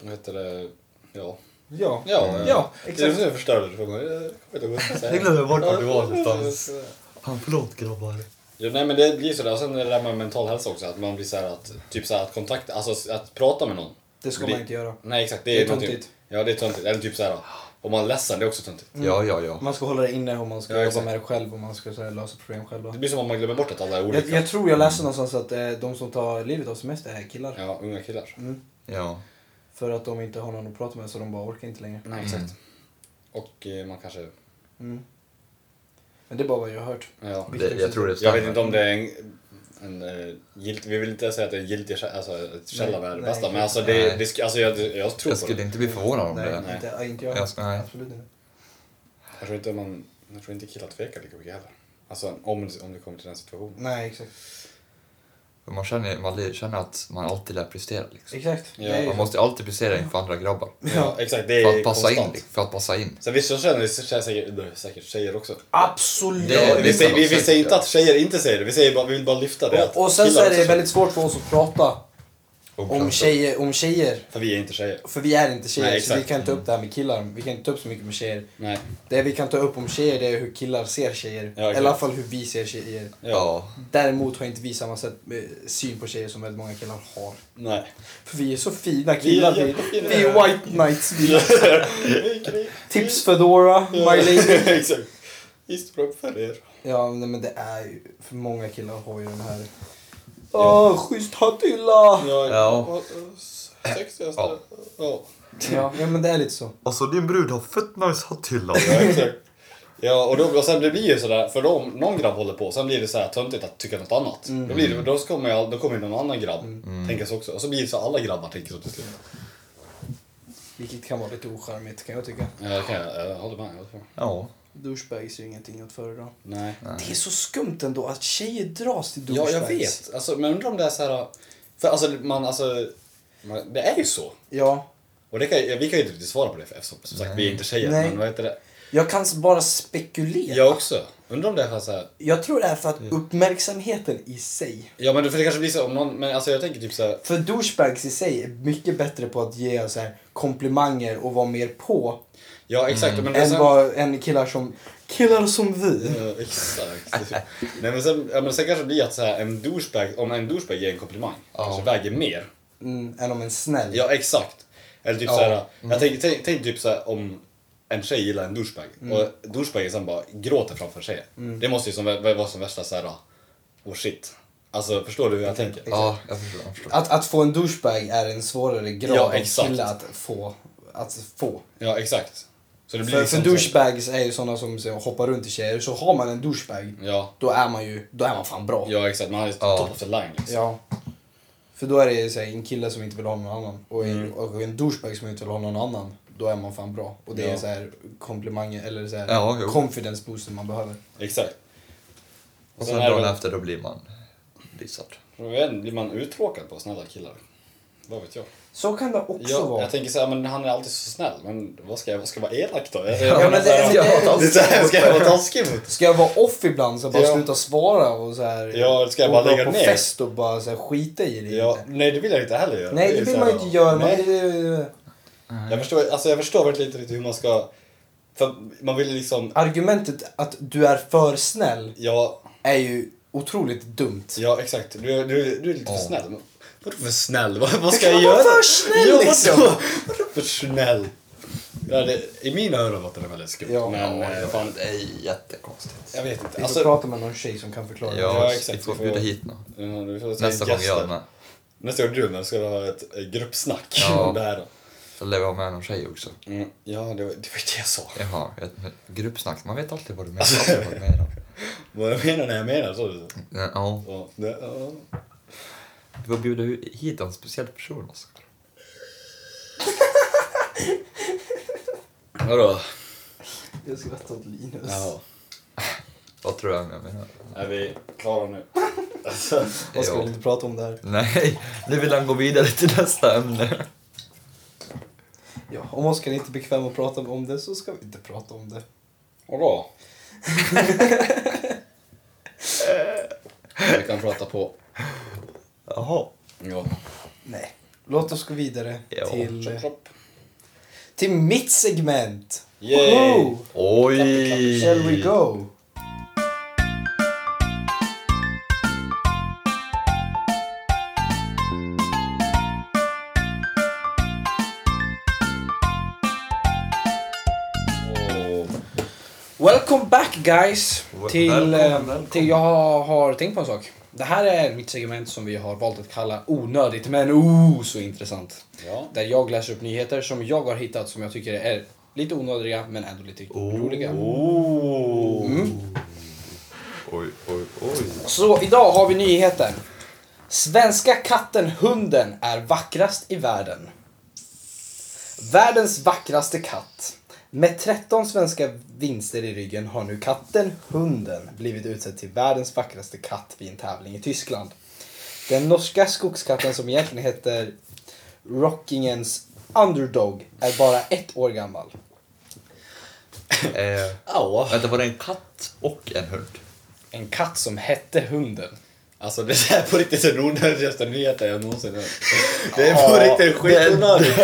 Speaker 2: Vad heter det? Ja.
Speaker 3: Ja.
Speaker 2: Ja,
Speaker 3: Ja,
Speaker 2: Det
Speaker 3: exakt.
Speaker 2: är nu förstörde du för mig. Jag kommer inte
Speaker 4: Jag
Speaker 2: ihåg vad jag säga.
Speaker 4: glömmer bort var du var någonstans.
Speaker 3: eh,
Speaker 4: Fan, förlåt grabbar.
Speaker 2: Jo, nej men det blir sådär. Och sen är det där med mental hälsa också. Att man blir såhär att, typ såhär att kontakta, alltså att prata med någon.
Speaker 3: Det ska man inte göra.
Speaker 2: Nej exakt, det är,
Speaker 3: Det är
Speaker 2: någonting-
Speaker 3: töntigt.
Speaker 2: Ja det är töntigt. Eller typ såhär, om man är ledsen, det är också töntigt.
Speaker 1: Ja, ja, ja.
Speaker 3: mm. Man ska hålla det inne och man ska
Speaker 2: Ja,
Speaker 3: jobba
Speaker 2: exakt.
Speaker 3: med det själv och man ska så här, lösa problem själv.
Speaker 2: Det blir som om man glömmer bort att alla är olika.
Speaker 3: Jag, jag tror jag läste någonstans att eh, de som tar livet av sig mest är killar. Mm.
Speaker 2: Ja, unga killar.
Speaker 1: Ja.
Speaker 3: För att de inte har någon att prata med så de bara orkar inte längre.
Speaker 2: Nej, exakt. Och eh, man kanske...
Speaker 3: Mm. Men det är bara vad jag har hört.
Speaker 2: Ja.
Speaker 1: Det, jag tror det
Speaker 2: Jag
Speaker 1: stämmer.
Speaker 2: vet inte om det är en... en eh, gilt, vi vill inte säga att det är en giltig kä- alltså, ett källa med det
Speaker 3: nej,
Speaker 2: bästa, men
Speaker 3: nej.
Speaker 2: alltså, det, det, sk- alltså jag, jag tror
Speaker 1: Jag
Speaker 2: på det.
Speaker 1: skulle inte bli förvånad om
Speaker 3: nej,
Speaker 1: det.
Speaker 2: Nej.
Speaker 3: Inte, inte jag.
Speaker 1: Jag ska- nej.
Speaker 3: Absolut inte.
Speaker 2: Jag tror inte man... Jag tror inte killar tvekar lika mycket heller. Alltså om, om det kommer till den situationen.
Speaker 3: Nej, exakt.
Speaker 1: För Man känner, man li- känner att man alltid lär prestera. Liksom.
Speaker 3: Exakt.
Speaker 2: Ja,
Speaker 3: det är ju
Speaker 1: Man
Speaker 3: så.
Speaker 1: måste alltid prestera inför andra grabbar.
Speaker 2: Ja, exakt. Det
Speaker 1: För
Speaker 2: är
Speaker 1: att passa in.
Speaker 2: konstant.
Speaker 1: liksom, För att passa in.
Speaker 2: Sen vissa känner det är säkert, det är säkert tjejer också.
Speaker 3: Absolut!
Speaker 1: Det är-
Speaker 2: vi, säger, vi, vi
Speaker 1: säkert,
Speaker 2: säger inte
Speaker 1: ja.
Speaker 2: att tjejer inte säger det, vi, säger bara, vi vill bara lyfta det. att
Speaker 3: och, och sen så
Speaker 2: killar
Speaker 3: är
Speaker 2: också
Speaker 3: det väldigt svårt för oss att prata om tjejer, om tjejer.
Speaker 2: känner- För vi är inte tjejer.
Speaker 3: För vi är inte tjejer,
Speaker 2: Nej,
Speaker 3: så vi
Speaker 2: exakt. Mm.
Speaker 3: kan inte ta upp det här med killar. Vi kan inte ta upp så mycket med tjejer.
Speaker 2: Nej.
Speaker 3: Det vi kan ta upp om tjejer, det är hur killar ser tjejer.
Speaker 2: Ja, exakt.
Speaker 3: Eller i alla fall hur vi ser tjejer.
Speaker 1: Ja.
Speaker 3: Däremot har inte vi samma sätt, eh, syn på tjejer som väldigt många killar har.
Speaker 2: Nej.
Speaker 3: För vi är så fina killar. Vi, vi,
Speaker 2: jättefina.
Speaker 3: är white knights. Vi
Speaker 2: Vi- vi-
Speaker 3: tips Fedora,
Speaker 2: (laughs)
Speaker 3: my lady.
Speaker 2: Exakt. Easterbrook för er.
Speaker 3: Ja, nej, men det är ju... För många killar har ju den här...
Speaker 2: Ja.
Speaker 3: Åh, schysst hatthylla!
Speaker 1: Ja.
Speaker 2: Sexigaste.
Speaker 1: Ja.
Speaker 2: Ja.
Speaker 3: Ja, ja, men det är lite så.
Speaker 4: Alltså din brud har fett nice hatthylla.
Speaker 2: Ja, exakt. Ja, och, då, och sen det blir ju sådär, för om någon grabb håller på, sen blir det så här töntigt att tycka något annat. Då, blir det, då, ska man, ju- då kommer ju någon annan grabb tänka så också. Och så blir det så alla grabbar tänker så till slut.
Speaker 3: Vilket kan vara lite ocharmigt kan jag tycka.
Speaker 2: Ja, det kan jag, jag håller med. Jag håller med.
Speaker 1: Ja.
Speaker 3: Douchebags är ju ingenting att föredra.
Speaker 2: Nej.
Speaker 3: Det är så skumt ändå att tjejer dras till
Speaker 2: Ja,
Speaker 3: douchebags.
Speaker 2: jag vet. Alltså, men undrar om det är så här... För alltså, man, alltså, man, det är ju så.
Speaker 3: Ja.
Speaker 2: Och det kan, ju- vi kan ju inte riktigt svara på det, för eftersom, som sagt, vi är inte tjejer.
Speaker 3: Nej.
Speaker 2: Men vad heter det?
Speaker 3: Jag kan s- bara spekulera.
Speaker 2: Jag också. Undrar om det är så här...
Speaker 3: Jag tror det är för att uppmärksamheten i sig.
Speaker 2: Ja men för det kanske blir så om någon, men alltså jag tänker typ så här,
Speaker 3: För douchebags i sig är mycket bättre på att ge så här, komplimanger och vara mer på.
Speaker 2: ja exakt men det är
Speaker 3: än
Speaker 2: sen,
Speaker 3: vad Mm. en killar som... Killar som vi.
Speaker 2: Ja, exakt. Nej men sen, ja, men sen kanske det blir att så här, en douchebag, om en douchebag ger en komplimang, kanske väger mer.
Speaker 3: Mm, än om en snäll.
Speaker 2: Ja exakt. Eller typ
Speaker 3: Ja.
Speaker 2: så här, jag tänker, tänk, tänk typ så här om en tjej gillar en douchebag
Speaker 3: Mm.
Speaker 2: och douchebagen sen bara gråter framför tjejen. Det måste ju som, vä- vara som värsta så här, oh shit. Alltså förstår du hur jag tänker?
Speaker 1: Ja, jag förstår. Jag förstår.
Speaker 3: Att, att få en douchebag är en svårare grad
Speaker 2: Ja,
Speaker 3: av
Speaker 2: exakt.
Speaker 3: kille att få. Att få.
Speaker 2: Ja exakt. Så det blir
Speaker 3: För, för
Speaker 2: liksom så här-
Speaker 3: douchebags är ju sådana som så, hoppar runt i tjejer. Så har man en douchebag,
Speaker 2: Ja,
Speaker 3: då är man ju då är man fan bra.
Speaker 2: ja exakt, man är
Speaker 1: Ja.
Speaker 2: top of the line liksom.
Speaker 3: Ja. För då är det så här, en kille som inte vill ha någon annan. Och en,
Speaker 2: Mm.
Speaker 3: och en douchebag som inte vill ha någon annan. Då är man fan bra. Och det
Speaker 2: Ja.
Speaker 3: är så här komplimanger eller så här
Speaker 1: Ja, jo.
Speaker 3: confidence boosten man behöver.
Speaker 2: Exakt.
Speaker 1: Och
Speaker 2: Sen
Speaker 1: sen
Speaker 2: är det
Speaker 1: dagen
Speaker 2: väl-
Speaker 1: efter då blir man dissad.
Speaker 2: Jag vet inte, Blir man uttråkad på snälla killar? Vad vet jag?
Speaker 3: Så kan det också
Speaker 2: Jag,
Speaker 3: vara.
Speaker 2: jag tänker såhär, men han är alltid så snäll. Men vad ska jag, vad ska jag vara elak då? Jag,
Speaker 3: Ja,
Speaker 2: jag,
Speaker 3: men
Speaker 2: men
Speaker 3: det- det-
Speaker 2: det, det, här ska jag vara taskig mot?
Speaker 3: Ska jag vara off ibland så bara
Speaker 2: Ja.
Speaker 3: sluta svara och så här,
Speaker 2: Ja, eller ska jag bara
Speaker 3: och vara
Speaker 2: lägga
Speaker 3: på
Speaker 2: ner?
Speaker 3: fest och bara så här, skita i det
Speaker 2: Ja,
Speaker 3: lite.
Speaker 2: nej, det vill jag inte heller göra.
Speaker 3: Nej,
Speaker 2: är
Speaker 3: det
Speaker 2: ju
Speaker 3: vill
Speaker 2: så
Speaker 3: man
Speaker 2: här,
Speaker 3: ju inte göra. Man,
Speaker 2: Nej,
Speaker 3: eh,
Speaker 2: jag, förstår, alltså, jag förstår verkligen inte riktigt hur man ska... För man vill liksom...
Speaker 3: argumentet att du är för snäll
Speaker 2: Ja,
Speaker 3: är ju otroligt dumt.
Speaker 2: ja exakt. Du, du, du är lite för
Speaker 1: Ja.
Speaker 2: snäll. Men Vadå för snäll? Vad, vad ska
Speaker 3: kan
Speaker 2: jag
Speaker 3: vara
Speaker 2: göra?
Speaker 3: för snäll,
Speaker 2: ja, vadå?
Speaker 3: liksom.
Speaker 2: Vadå för snäll? Ja, det, I mina öron låter det väldigt skumt.
Speaker 3: Ja.
Speaker 2: men eh, fan,
Speaker 1: det är jättekonstigt.
Speaker 2: jag vet inte.
Speaker 3: Vi får
Speaker 2: Alltså,
Speaker 3: prata med någon tjej som kan förklara.
Speaker 1: Ja,
Speaker 2: exakt,
Speaker 1: vi får
Speaker 2: vi får-
Speaker 1: bjuda hit någon.
Speaker 2: Ja, nu får jag säga
Speaker 1: Nästa gång
Speaker 2: gäster.
Speaker 1: jag är med.
Speaker 2: Nästa gång du är med ska du ha ett eh, gruppsnack
Speaker 1: Ja.
Speaker 2: om (laughs) det här.
Speaker 1: Så lever jag med någon tjej också.
Speaker 2: Mm. Ja, det var, det var ju det jag sa.
Speaker 1: Jaha, ett gruppsnack. Man vet alltid vad du menar. alltid vad du menar.
Speaker 2: Vad jag menar när jag menar så. så.
Speaker 1: Nej, Ja,
Speaker 2: Ja, det, ja.
Speaker 1: vi får bjuda hit en speciell person, Oskar.
Speaker 2: Vadå?
Speaker 3: Jag skrattar åt Linus.
Speaker 2: Jaha.
Speaker 1: Vad tror jag jag menar?
Speaker 2: Är vi klara nu? (laughs) Alltså,
Speaker 1: Ja.
Speaker 5: Jag skulle inte prata om det här.
Speaker 4: Nej, nu vill han gå vidare till nästa ämne.
Speaker 5: Ja, om Oskar inte är bekväm att prata om det så ska vi inte prata om det.
Speaker 2: och då? Vi kan prata på.
Speaker 4: Jaha.
Speaker 2: Ja.
Speaker 5: Nej. Låt oss gå vidare
Speaker 4: Ja.
Speaker 5: till,
Speaker 2: Klopp.
Speaker 5: till mitt segment.
Speaker 2: Yay!
Speaker 5: Woho!
Speaker 4: Oj!
Speaker 5: Shall we go?
Speaker 2: Åh.
Speaker 3: Welcome back guys!
Speaker 1: Wel-
Speaker 3: Till,
Speaker 1: välkommen,
Speaker 3: eh, till jag har tänkt på en sak. Det här är mitt segment som vi har valt att kalla onödigt men oh så intressant.
Speaker 2: Ja.
Speaker 3: Där jag läser upp nyheter som jag har hittat som jag tycker är lite onödiga men ändå lite roliga.
Speaker 2: Oh.
Speaker 1: Oj, oj, oj.
Speaker 3: Så idag har vi nyheten. Svenska katten hunden är vackrast i världen. Världens vackraste katt. Med 13 svenska vinster i ryggen har nu katten hunden blivit utsedd till världens vackraste katt vid en tävling i Tyskland. Den norska skogskatten som egentligen heter Rockingens Underdog är bara ett år gammal.
Speaker 1: Eh,
Speaker 2: Au.
Speaker 4: Vänta, var det en katt och en hund?
Speaker 3: En katt som hette hunden.
Speaker 2: Alltså det här är på riktigt den onödigaste nyheten jag någonsin hört. Det är på riktigt skitonödigt.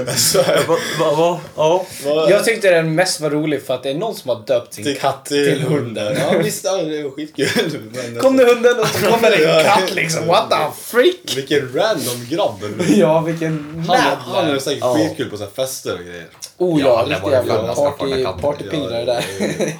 Speaker 2: (laughs) Alltså,
Speaker 1: Eh,
Speaker 4: Va, va, va? Ja.
Speaker 2: vad-
Speaker 3: Jag tyckte den mest var rolig för att det är någon som har döpt sin
Speaker 2: till katt till hunden. Ja visst, ja, det är skitkul. (laughs) Men
Speaker 3: Kom nu hunden och så kommer det en
Speaker 2: Ja.
Speaker 3: katt liksom. What the freak?
Speaker 2: Vilken random (laughs) grabb.
Speaker 3: Ja, vilken
Speaker 2: Han, han är säkert
Speaker 4: Ja.
Speaker 2: skitkul på så här fester och grejer.
Speaker 3: Oh
Speaker 1: Ja,
Speaker 3: ja,
Speaker 1: han är
Speaker 3: riktig
Speaker 1: bara
Speaker 3: jävla
Speaker 1: skönast när
Speaker 3: party,
Speaker 1: folk har katt.
Speaker 3: partypinglare där.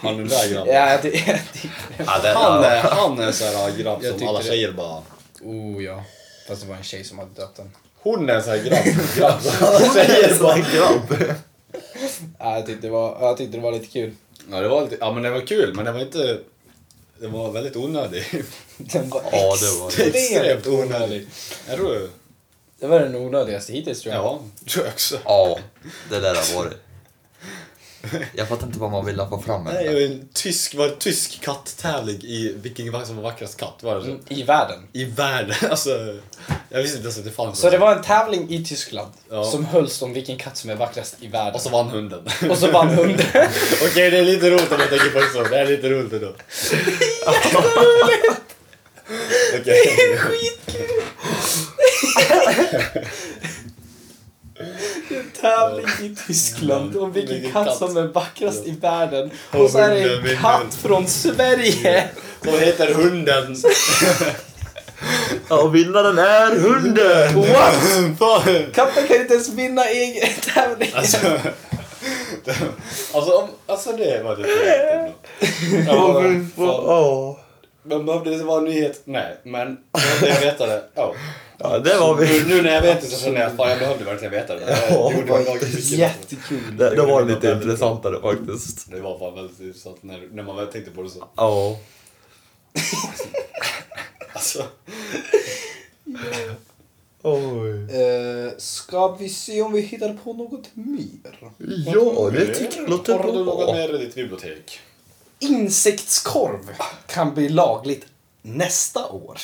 Speaker 2: Han är den där (laughs) grabben.
Speaker 3: Ja, jag ty- (laughs) jag ty-
Speaker 1: ja, det,
Speaker 2: Han
Speaker 1: ja.
Speaker 2: är, han är en sån här grabb
Speaker 3: Jag
Speaker 2: som
Speaker 3: tyckte
Speaker 2: alla
Speaker 3: det.
Speaker 2: tjejer bara...
Speaker 3: Oh ja. Fast det var en tjej som hade döpt den.
Speaker 2: Hon är en sån här grabb, (laughs) grabb som alla (laughs) tjejer bara...
Speaker 3: Ja, jag, tyckte det var, jag tyckte det var lite kul. (laughs)
Speaker 2: Ja, det var lite, ja men det var kul men det var inte... Det var väldigt (laughs) onödig.
Speaker 3: Den var
Speaker 4: Ja, det var det.
Speaker 2: Extremt onödig. Jag tror...
Speaker 3: Det var den onödigaste hittills tror jag.
Speaker 2: Ja, tror jag också.
Speaker 4: Ja, det där har varit. Jag fattar inte vad man ville få fram med
Speaker 2: Det
Speaker 4: det
Speaker 2: är
Speaker 4: där.
Speaker 2: ju en tysk, var en tysk katttävling i vilken som var vackrast katt var det så?
Speaker 3: Mm, I världen.
Speaker 2: I världen, (laughs) alltså. Jag visste inte ens att det fanns.
Speaker 3: Så det var en tävling i Tyskland
Speaker 2: Ja.
Speaker 3: som hölls om vilken katt som är vackrast i världen.
Speaker 2: Och så vann hunden. (laughs)
Speaker 3: och så vann hunden.
Speaker 2: Okej, det är lite roligt om jag tänker på det så. Det är lite roligt ändå. Okej.
Speaker 3: tävling i Tyskland om vilken
Speaker 2: Vilken
Speaker 3: katt
Speaker 2: katt.
Speaker 3: som är vackrast
Speaker 2: Ja.
Speaker 3: i världen.
Speaker 2: Och
Speaker 3: Och så är det
Speaker 2: hunden
Speaker 3: en
Speaker 2: vinner.
Speaker 3: katt från Sverige!
Speaker 2: Som heter hunden. (laughs)
Speaker 4: Ja, och vinnaren är hunden!
Speaker 3: What?
Speaker 2: Fan.
Speaker 3: Katten kan inte ens vinna egen tävling!
Speaker 2: alltså, det- alltså, om, alltså det var lite roligt ändå. Jag bara, fan.
Speaker 4: Ja,
Speaker 2: Men behövde det vara en nyhet? Nej, men behövde jag veta det? Ja.
Speaker 4: Ja, det var vi.
Speaker 2: Nu, nu när jag vet det så känner jag fan jag behövde verkligen veta det. Jag
Speaker 4: Ja,
Speaker 2: gjorde
Speaker 4: vad
Speaker 2: vad jag fick.
Speaker 5: Jättekul.
Speaker 4: Det, det var lite intressantare faktiskt.
Speaker 2: Det var fan väldigt intressant när, när man väl tänkte på det så.
Speaker 4: Ja.
Speaker 2: Alltså,
Speaker 4: Oj.
Speaker 5: Eh, ska vi se om vi hittar på något mer?
Speaker 4: Ja, det tycker jag låter
Speaker 2: har du något
Speaker 4: bra.
Speaker 2: mer i ditt bibliotek?
Speaker 3: Insektskorv kan bli lagligt nästa år.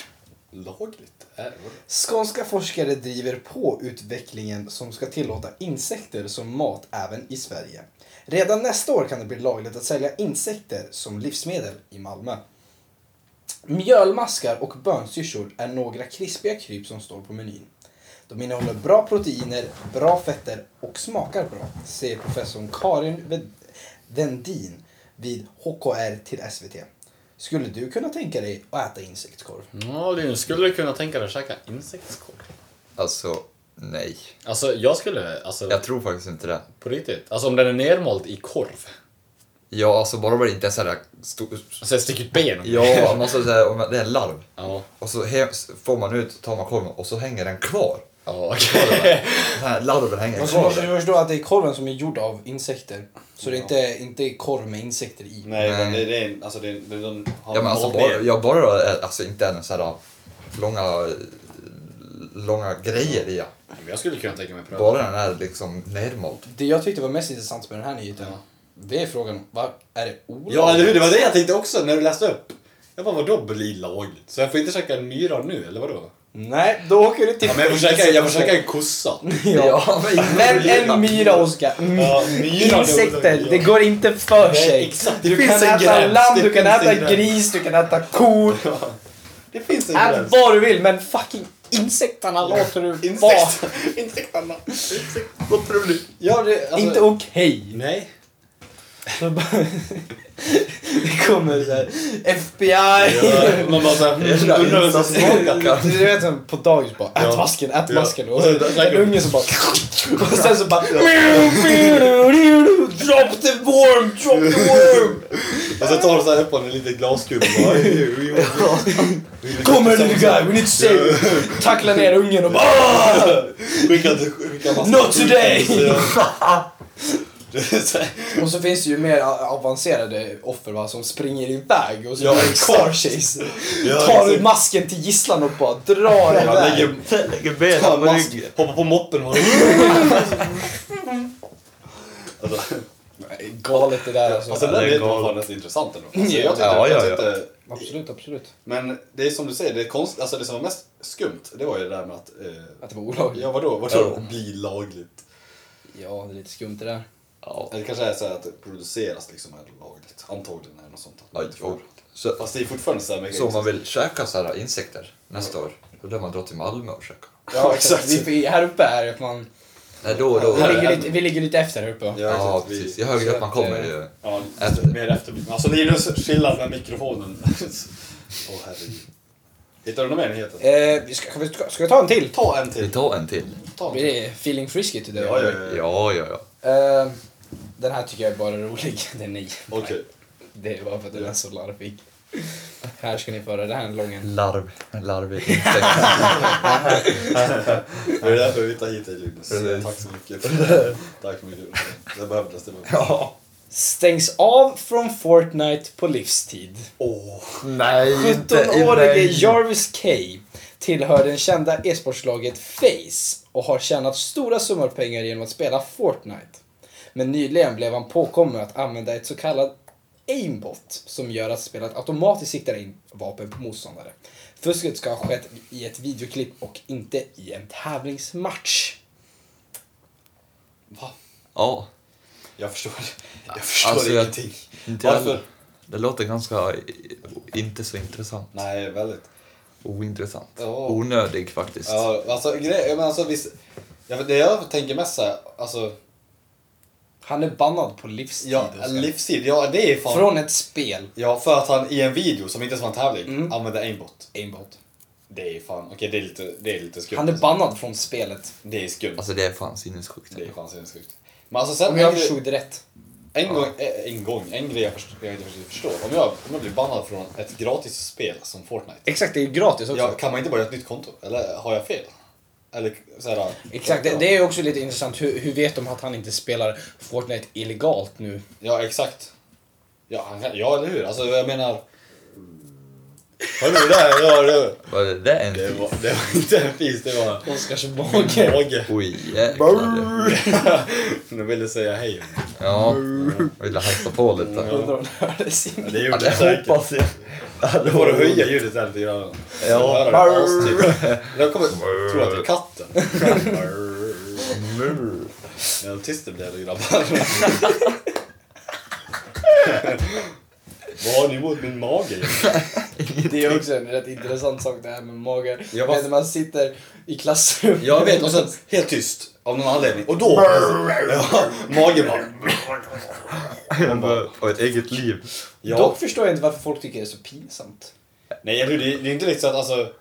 Speaker 2: Lagligt? Är det?
Speaker 3: Skånska forskare driver på utvecklingen som ska tillåta insekter som mat även i Sverige. Redan nästa år kan det bli lagligt att sälja insekter som livsmedel i Malmö. Mjölmaskar och bönsyrsor är några krispiga kryp som står på menyn. De innehåller bra proteiner, bra fetter och smakar bra, säger professorn Karin Ved- Vendin vid HKR till SVT. Skulle du kunna tänka dig att äta insektskorv?
Speaker 2: Ja, Linus, skulle du kunna tänka dig att käka insektskorv?
Speaker 1: Alltså, nej.
Speaker 2: Alltså, jag skulle, alltså,
Speaker 1: Jag tror faktiskt inte det.
Speaker 2: på riktigt. Alltså om den är nermald i korv.
Speaker 1: Ja, alltså bara om det inte är sådär stor...
Speaker 2: Alltså ett stycket ben.
Speaker 1: Ja, man måste säga om det är en larv.
Speaker 2: Ja.
Speaker 1: Och så he- får man ut, tar man korven och så hänger den kvar.
Speaker 2: Ja, okej.
Speaker 1: Den här larven hänger
Speaker 3: Och så
Speaker 1: kvar
Speaker 3: måste
Speaker 1: där.
Speaker 3: du förstå att det är korven som är gjord av insekter. Så det är inte, inte är korv med insekter i.
Speaker 2: Nej, men det,
Speaker 1: Nej.
Speaker 2: det är en, alltså det, är en- det, den har
Speaker 1: Ja men alltså
Speaker 2: malt
Speaker 1: bara,
Speaker 2: ner.
Speaker 1: ja, bara då, eh, alltså inte en sån här långa, långa grejer i ja.
Speaker 2: Men Jag skulle kunna tänka mig att pröva.
Speaker 1: Bara den är liksom nermald.
Speaker 3: Det jag tyckte var mest intressant med den här nyheten,
Speaker 2: Ja.
Speaker 3: det är frågan, vad är det olagligt?
Speaker 2: Ja, eller hur? Det var det jag tänkte också när du läste upp. Jag bara, vadå bli lagligt? Så jag får inte käka en myra nu, eller vadå?
Speaker 3: Nej, då åker du till
Speaker 2: Ja, men jag får käka, jag får käka en
Speaker 1: (laughs)
Speaker 2: kossa.
Speaker 3: (laughs) Ja. Men en myra, Oskar. Mm.
Speaker 2: Ja, myra,
Speaker 3: Insekter,
Speaker 2: då-
Speaker 3: det går inte för
Speaker 2: Nej,
Speaker 3: sig.
Speaker 2: exakt. Det
Speaker 3: Du kan
Speaker 2: finns en
Speaker 3: äta
Speaker 2: gräns,
Speaker 3: lamm,
Speaker 2: det
Speaker 3: du kan
Speaker 2: finns en
Speaker 3: äta
Speaker 2: gräns.
Speaker 3: gris, du kan äta ko.
Speaker 2: Det finns en
Speaker 3: Ät
Speaker 2: gräns.
Speaker 3: vad du vill, men fucking insekterna låter du vara.
Speaker 2: Insekter. Insekterna. Insekt. Låter det bli? Ja, det, alltså,
Speaker 3: Inte okej.
Speaker 2: Nej.
Speaker 3: Så bara- (laughs) det kommer så här, FBI.
Speaker 2: Ja, man bara såhär, undrar vem som
Speaker 3: (laughs)
Speaker 2: smakar.
Speaker 3: Du vet som på dagis bara ät
Speaker 2: Ja.
Speaker 3: masken, ät
Speaker 2: Ja.
Speaker 3: masken. Och så en unge som bara (laughs) och sen så bara drop the worm, drop the worm.
Speaker 2: Och så tar de såhär upp på en liten glaskub
Speaker 3: (laughs)
Speaker 2: och bara...
Speaker 3: Kom här lille guy, we need to save you. Tackla ner ungen och bara "Ah!"
Speaker 2: (laughs) Skicka- skicka massa-
Speaker 3: Not today! (laughs)
Speaker 2: Ja. Det är så här-
Speaker 3: Och så finns det ju mer avancerade offer va, som springer iväg och så
Speaker 2: Ja,
Speaker 3: blir det
Speaker 2: exakt.
Speaker 3: car chase.
Speaker 2: Ja,
Speaker 3: Tar du
Speaker 2: exakt.
Speaker 3: masken till gisslan och bara drar
Speaker 2: Man
Speaker 3: iväg.
Speaker 2: liksom- lägger
Speaker 4: Lägger benen
Speaker 2: fan
Speaker 4: på
Speaker 2: mask,
Speaker 4: ryggen.
Speaker 2: hoppar på moppen och... Alltså,
Speaker 3: Nej, Galet det där alltså.
Speaker 2: alltså den
Speaker 4: det är
Speaker 2: delen
Speaker 4: galet.
Speaker 2: var nästan intressant ändå. Alltså,
Speaker 3: Ja.
Speaker 2: jag tyckte,
Speaker 1: Ja,
Speaker 2: jag
Speaker 1: ja, ja.
Speaker 2: tyckte,
Speaker 3: Absolut, absolut.
Speaker 2: Men det är som du säger, det, är konst, alltså det som var mest skumt, det var ju det där med att... Eh,
Speaker 3: Att det var olagligt.
Speaker 2: ja, vadå? Vadå bli lagligt?
Speaker 3: Ja, det är lite skumt det där.
Speaker 4: Ja.
Speaker 2: Eller kanske är så här att det produceras liksom är lagligt. Antagligen är det något sånt. att man
Speaker 1: Ja,
Speaker 2: inte får.
Speaker 1: och, så,
Speaker 2: Fast det är fortfarande så här med
Speaker 1: så om man vill käka så här insekter nästa år, då lär man dra till Malmö och käka.
Speaker 3: (laughs) Ja, exakt. Vi, här uppe är att man...
Speaker 1: Nej, då, då,
Speaker 3: Vi
Speaker 2: Ja,
Speaker 3: ligger
Speaker 2: det-
Speaker 3: lite, vi ligger lite efter här uppe.
Speaker 2: Ja,
Speaker 1: ja,
Speaker 2: exakt. Vi-
Speaker 1: precis. eh, Ju högre upp man kommer ju...
Speaker 2: Ja,
Speaker 1: Efter.
Speaker 2: mer efter. Alltså Linus, chilla
Speaker 1: (laughs)
Speaker 2: med mikrofonen. Åh herregud. Hittar du någon mer nyheter?
Speaker 3: Eh, vi ska, vi ska, ska vi ta en till?
Speaker 2: Ta en
Speaker 1: Vi
Speaker 2: till.
Speaker 1: tar en till.
Speaker 2: Ta en till.
Speaker 3: Vi är feeling frisky today.
Speaker 2: Ja, ja, ja.
Speaker 1: Ja, ja, ja.
Speaker 3: Eh, den här tycker jag är bara rolig. (laughs) Den är,
Speaker 2: Okej.
Speaker 3: det är bara för att den är så larvig. Här ska ni få höra, det här är en lång en.
Speaker 1: Larv, larvig (laughs) insekt.
Speaker 2: Det är därför vi tar hit dig Linus.
Speaker 1: Precis.
Speaker 2: Tack
Speaker 1: (laughs)
Speaker 2: så mycket. för det. Tack så mycket. Det behövdes. Det behövdes.
Speaker 1: ja.
Speaker 3: Stängs av från Fortnite på livstid.
Speaker 2: Åh.
Speaker 1: Nej, inte i
Speaker 3: 17-årige
Speaker 1: mig.
Speaker 3: Jarvis K tillhör det kända e-sportslaget Face och har tjänat stora summor pengar genom att spela Fortnite. Men nyligen blev han påkommen med att använda ett så kallat aimbot som gör att spelet automatiskt siktar in vapen på motståndare. Fusket ska ha skett i ett videoklipp och inte i en tävlingsmatch.
Speaker 2: Va?
Speaker 1: Ja,
Speaker 2: Jag förstår. Jag förstår
Speaker 1: Alltså, jag-
Speaker 2: ingenting.
Speaker 1: inte jag
Speaker 2: Varför?
Speaker 1: heller. Det låter ganska i- inte så intressant.
Speaker 2: Nej, väldigt.
Speaker 1: Ointressant.
Speaker 2: Ja.
Speaker 1: Onödig faktiskt.
Speaker 2: Ja, alltså grej, men alltså visst. Jag, vet- det jag tänker mest såhär, alltså.
Speaker 3: Han är bannad på livstid.
Speaker 2: Ja,
Speaker 3: Oskar.
Speaker 2: livstid, ja det är fan.
Speaker 3: Från ett spel.
Speaker 2: Ja, för att han i en video som inte ens var en tävling
Speaker 3: Mm.
Speaker 2: använde aimbot.
Speaker 3: Aimbot.
Speaker 2: Det är fan, okej det är lite, det är lite skumt.
Speaker 3: Han är bannad från spelet.
Speaker 2: Det är skumt.
Speaker 1: Alltså det är fan sinnessjukt.
Speaker 2: det är fan sinnessjukt. Men alltså sen,
Speaker 3: Om jag
Speaker 2: en,
Speaker 3: förstod det rätt.
Speaker 2: en, gång, eh, en gång, en grej jag, först, jag inte riktigt förstår. Om jag, om jag blir bannad från ett gratis spel som Fortnite.
Speaker 3: Exakt, det är ju gratis också.
Speaker 2: Ja, kan man inte bara göra ett nytt konto? Eller har jag fel? Eller såhär...
Speaker 3: Exakt, det, det är ju också lite intressant. Hur, hur vet de att han inte spelar Fortnite illegalt nu?
Speaker 2: Ja, exakt. Ja, han kan, ja eller hur? Alltså jag menar... Hörde du det? där? Ja, det,
Speaker 1: Var det där en
Speaker 2: det,
Speaker 1: fis?
Speaker 2: var, det var (laughs) inte en fis, det var
Speaker 3: Oskars
Speaker 2: en
Speaker 3: (laughs) mage.
Speaker 2: mage.
Speaker 1: Oj jäklar. du.
Speaker 2: Nu ville säga hej.
Speaker 1: Ja, ville hälsa på lite.
Speaker 3: Undrar om det hördes (laughs) in.
Speaker 2: Ja, det
Speaker 1: Ja,
Speaker 2: gjorde det
Speaker 1: det
Speaker 2: säkert.
Speaker 1: hoppas jag. Ja,
Speaker 2: Då
Speaker 1: det
Speaker 2: får
Speaker 1: var
Speaker 2: du
Speaker 1: roligt.
Speaker 2: höja ljudet där lite grann.
Speaker 1: Ja.
Speaker 2: Ja. Höra det astyrt. Jag kommer tro att det är
Speaker 1: (laughs)
Speaker 2: katten. Ja, tyst det blev det
Speaker 1: (laughs)
Speaker 2: grabbar. Vad har ni emot min mage?
Speaker 3: Det är också en rätt intressant sak det här med magen.
Speaker 2: Jag var-
Speaker 3: Men När man sitter i klassrummet.
Speaker 2: Jag vet,
Speaker 3: (laughs)
Speaker 2: och sen helt tyst av någon anledning. Och då... Ja, magen bara...
Speaker 1: Han bara, har ett eget liv.
Speaker 2: Ja.
Speaker 3: Dock förstår jag inte varför folk tycker det är så pinsamt.
Speaker 2: Nej, jag tror det, det är inte liksom att alltså...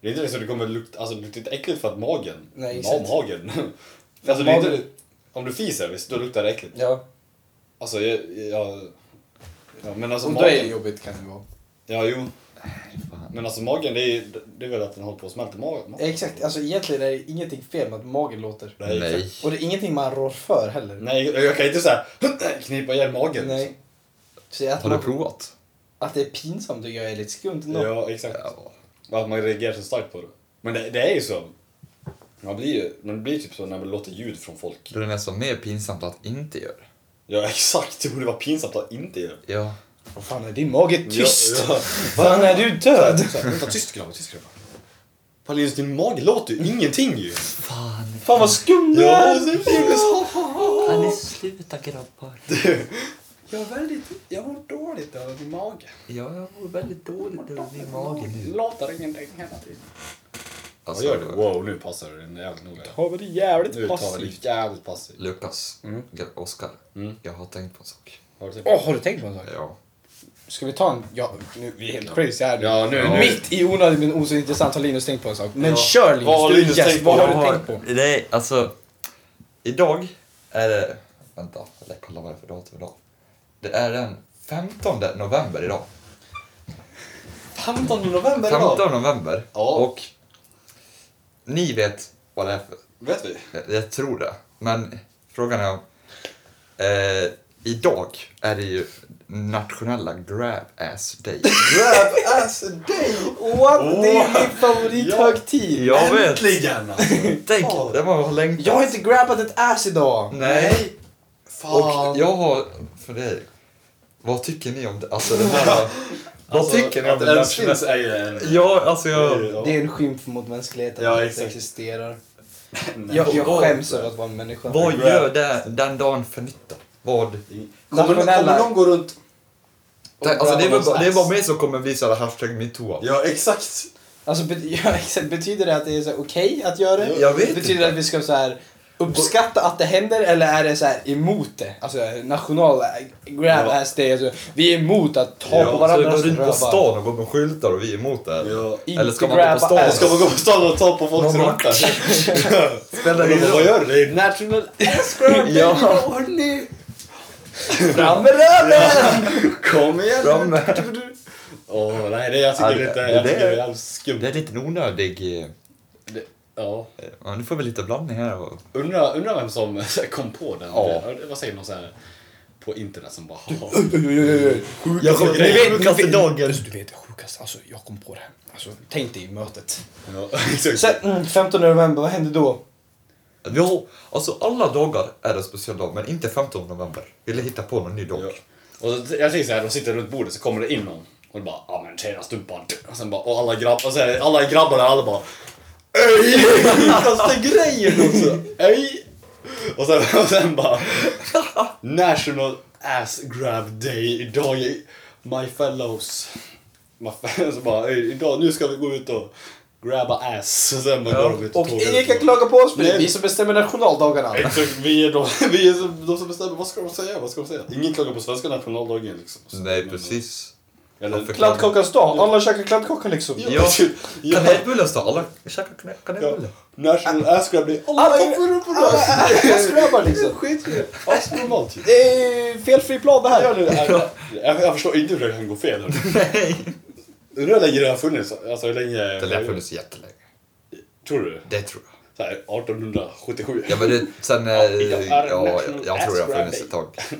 Speaker 2: Det är inte liksom att det kommer lukta, alltså, det luktar inte äckligt för att magen...
Speaker 3: Nej,
Speaker 2: ma-
Speaker 3: exakt.
Speaker 2: magen. (laughs) Alltså, det är inte,
Speaker 3: Magen-
Speaker 2: om du fiser, visst, då luktar det äckligt.
Speaker 3: Ja,
Speaker 2: Alltså, jag... jag ja, men alltså
Speaker 3: och då är det
Speaker 2: magen...
Speaker 3: jobbigt kan det vara.
Speaker 2: Ja, jo. Men alltså magen, det är, det är väl att den håller på att smälta magen?
Speaker 3: Exakt, alltså egentligen är det ingenting fel med att magen låter.
Speaker 2: Nej.
Speaker 1: Nej.
Speaker 3: Och det är ingenting man rår för heller.
Speaker 2: Nej, jag jag kan inte säga (laughs) knipa igen magen.
Speaker 3: Nej. Så att,
Speaker 1: Har du
Speaker 3: man,
Speaker 1: provat?
Speaker 3: att det är pinsamt tycker jag är lite skumt ändå.
Speaker 2: Ja, exakt.
Speaker 1: Ja.
Speaker 2: Och Att man reagerar så starkt på det. Men det, det är ju så. Man blir ju man blir typ så när man låter ljud från folk.
Speaker 1: Det är nästan mer pinsamt att inte göra.
Speaker 2: Ja, exakt. Det borde vara pinsamt att inte göra det.
Speaker 1: Ja.
Speaker 3: Vad fan är din mage tyst?
Speaker 2: Ja, ja.
Speaker 3: Fan är du död?
Speaker 2: Så här, Vänta, tyst grabbar, tyst grabbar. Fan Linus, din mage låter ju ingenting ju.
Speaker 4: Fan,
Speaker 3: Fan vad skum du
Speaker 2: Ja,
Speaker 3: är!
Speaker 2: så Linus.
Speaker 4: kan ni sluta grabbar?
Speaker 5: Jag har väldigt... Jag mår dåligt över min mage.
Speaker 4: Ja, jag mår väldigt dåligt över min mage nu.
Speaker 5: Låter ingenting hela tiden.
Speaker 2: Vad
Speaker 1: Alltså,
Speaker 2: gör du? Wow, nu passar du den jävligt noga.
Speaker 3: Har vi det jävligt
Speaker 2: Nu tar vi
Speaker 3: passivt?
Speaker 2: det jävligt passivt.
Speaker 1: Lukas,
Speaker 2: Mm.
Speaker 1: Gra- Oskar, jag har tänkt på en sak.
Speaker 2: Har du sett?
Speaker 3: Åh, har du tänkt på en sak?
Speaker 1: Ja.
Speaker 3: Ska vi ta en... Ja, nu, vi är helt crazy här nu.
Speaker 2: Ja, nu,
Speaker 1: Ja.
Speaker 2: nu.
Speaker 3: Mitt i onödan men ointressant har Linus tänkt på en sak. Men
Speaker 2: Ja.
Speaker 3: kör Linus,
Speaker 2: Vad har
Speaker 3: du är
Speaker 2: Linus
Speaker 3: gäst.
Speaker 2: tänkt på?
Speaker 3: Vad har
Speaker 2: Jag
Speaker 3: du tänkt på?
Speaker 4: Det är alltså...
Speaker 1: Idag är det... Vänta, eller kolla vad det är för datum idag. Det är den 15 november idag.
Speaker 2: 15 november
Speaker 1: 15 november.
Speaker 2: Ja.
Speaker 1: Och ni vet vad det är för...
Speaker 2: Vet vi?
Speaker 1: Jag, jag tror det. Men frågan är om... Eh, idag är det ju nationella grab ass day.
Speaker 2: Grab ass day!
Speaker 3: What? Det är min
Speaker 2: favorithögtid.
Speaker 3: favorithögtid.
Speaker 4: Jag vet!
Speaker 2: Äntligen alltså!
Speaker 4: Tänk!
Speaker 2: Ja.
Speaker 1: Det var längtat.
Speaker 3: Jag har inte grabbat ett ass idag.
Speaker 1: Nej.
Speaker 2: Fan.
Speaker 1: Och jag har för dig, vad tycker ni om det? Alltså det här, vad
Speaker 2: Alltså,
Speaker 1: tycker ni om
Speaker 2: att
Speaker 1: det?
Speaker 2: det?
Speaker 1: Där?
Speaker 2: Finns är ju en...
Speaker 1: Ja, alltså jag...
Speaker 2: Ja.
Speaker 3: Det är en skymf mot mänskligheten
Speaker 2: Ja,
Speaker 3: att det
Speaker 2: exakt.
Speaker 3: existerar.
Speaker 2: Nej.
Speaker 3: Jag, jag
Speaker 4: Vad-
Speaker 3: skäms över att vara en människa.
Speaker 1: Vad gör det den dagen för nytta? Vad?
Speaker 2: Kommer, kommer någon gå runt... och
Speaker 1: Alltså det är,
Speaker 2: grabba
Speaker 1: väl bara, det är
Speaker 2: någons
Speaker 1: bara
Speaker 2: ass?
Speaker 1: mig som kommer bli såhär hashtag metoo.
Speaker 2: Ja, exakt!
Speaker 3: Alltså, bet- (laughs) ja, exakt. Betyder det att det är så här okej att göra det?
Speaker 1: Jag vet
Speaker 3: Betyder
Speaker 1: inte.
Speaker 3: det att vi ska så här uppskatta att det händer eller är det så här emot det? Alltså national grab
Speaker 2: Ja.
Speaker 3: ass day. Alltså, vi är emot att ta
Speaker 2: Ja,
Speaker 3: på
Speaker 1: Så du
Speaker 3: varandras
Speaker 1: går inte alltså, på
Speaker 3: rövar.
Speaker 1: stan och går med skyltar och vi är emot det här.
Speaker 2: Ja.
Speaker 3: Inte
Speaker 1: Eller ska man gå på
Speaker 3: grabba
Speaker 1: stan?
Speaker 3: ass.
Speaker 2: Ska man gå på stan och ta på folks
Speaker 1: Någon
Speaker 2: rumpa?
Speaker 1: Spelar ingen
Speaker 2: Vad
Speaker 1: roll.
Speaker 2: gör du? Det är
Speaker 3: National
Speaker 1: (laughs)
Speaker 3: ass grab day.
Speaker 1: Ja.
Speaker 3: Vad har ni? Fram med (laughs) röven!
Speaker 2: Kom igen!
Speaker 1: Bra med-
Speaker 2: Åh, nej, det jag tycker
Speaker 1: Ja, det- det-
Speaker 2: lite... Jag tycker det är alldeles skumt.
Speaker 1: (laughs) Det är lite onödig... eh,
Speaker 2: Ja.
Speaker 1: Ja, nu får vi lite blandning här.
Speaker 2: Undrar undra vem som (laughs) kom på den.
Speaker 1: Ja.
Speaker 2: Det- Vad säger någon så här på internet som bara...
Speaker 1: Jag kommer,
Speaker 2: grejer.
Speaker 1: ni vet, sjukaste dagen.
Speaker 3: Du vet det sjukaste, alltså jag kom på det. här. Alltså, tänk dig i mötet.
Speaker 2: Ja, (laughs) exakt.
Speaker 3: Sen, mm, 15 november, vad
Speaker 1: (laughs)
Speaker 3: hände då?
Speaker 1: Vi har, alltså alla dagar är en speciell dag, men inte 15 november. Vi vill hitta på någon ny dag.
Speaker 2: Ja. Och så, jag tänker såhär, de sitter runt bordet så kommer det in någon och bara ja men tjena stumpan. Och sen bara, och alla grabbar, och så här, alla grabbar där alla bara Ej! Fasta grejen också! Ej! Och sen, (laughs) och sen bara National ass grab day idag är my fellows. My fellows bara "Ey, idag, nu ska vi gå ut och grabba ass. Och sen bara går de ut
Speaker 3: Och
Speaker 2: tågar ut
Speaker 3: ingen kan
Speaker 2: bara.
Speaker 3: klaga på oss för det är
Speaker 2: Nej.
Speaker 3: vi som bestämmer nationaldagarna.
Speaker 2: Exakt, vi är, de, (laughs) vi är som- de som bestämmer. Vad ska de säga? Vad ska de säga? Ingen klagar på svenska nationaldagen liksom. Så-
Speaker 1: Nej,
Speaker 2: men-
Speaker 1: precis.
Speaker 2: Eller,
Speaker 1: Varför-
Speaker 3: Kladdkakans dag, alla käkar kladdkaka liksom.
Speaker 1: Ja.
Speaker 2: ja.
Speaker 1: Kanelbullens dag. Alla käkar kane-
Speaker 2: ja.
Speaker 1: kanelbulle.
Speaker 2: National ass grab day.
Speaker 3: Alla-
Speaker 2: Alla kommer upp och rör
Speaker 3: Askgrabbar liksom.
Speaker 2: Skit i det. Asnormalt ju.
Speaker 3: Det är felfri plan det
Speaker 2: Ja,
Speaker 3: här.
Speaker 2: nu, jag, jag, jag förstår inte hur det kan gå fel. hörru. Undrar hur länge det har funnits? Alltså hur länge?
Speaker 1: Det lär funnits jättelänge.
Speaker 2: Tror du?
Speaker 1: Det tror jag.
Speaker 2: Så här, 1877?
Speaker 1: Ja, men det, sen... eh,
Speaker 2: idag
Speaker 1: ja,
Speaker 2: är
Speaker 1: jag,
Speaker 2: National
Speaker 1: jag tror det har
Speaker 2: Ass
Speaker 1: funnits
Speaker 2: Grab
Speaker 1: ett
Speaker 2: (laughs)
Speaker 1: tag.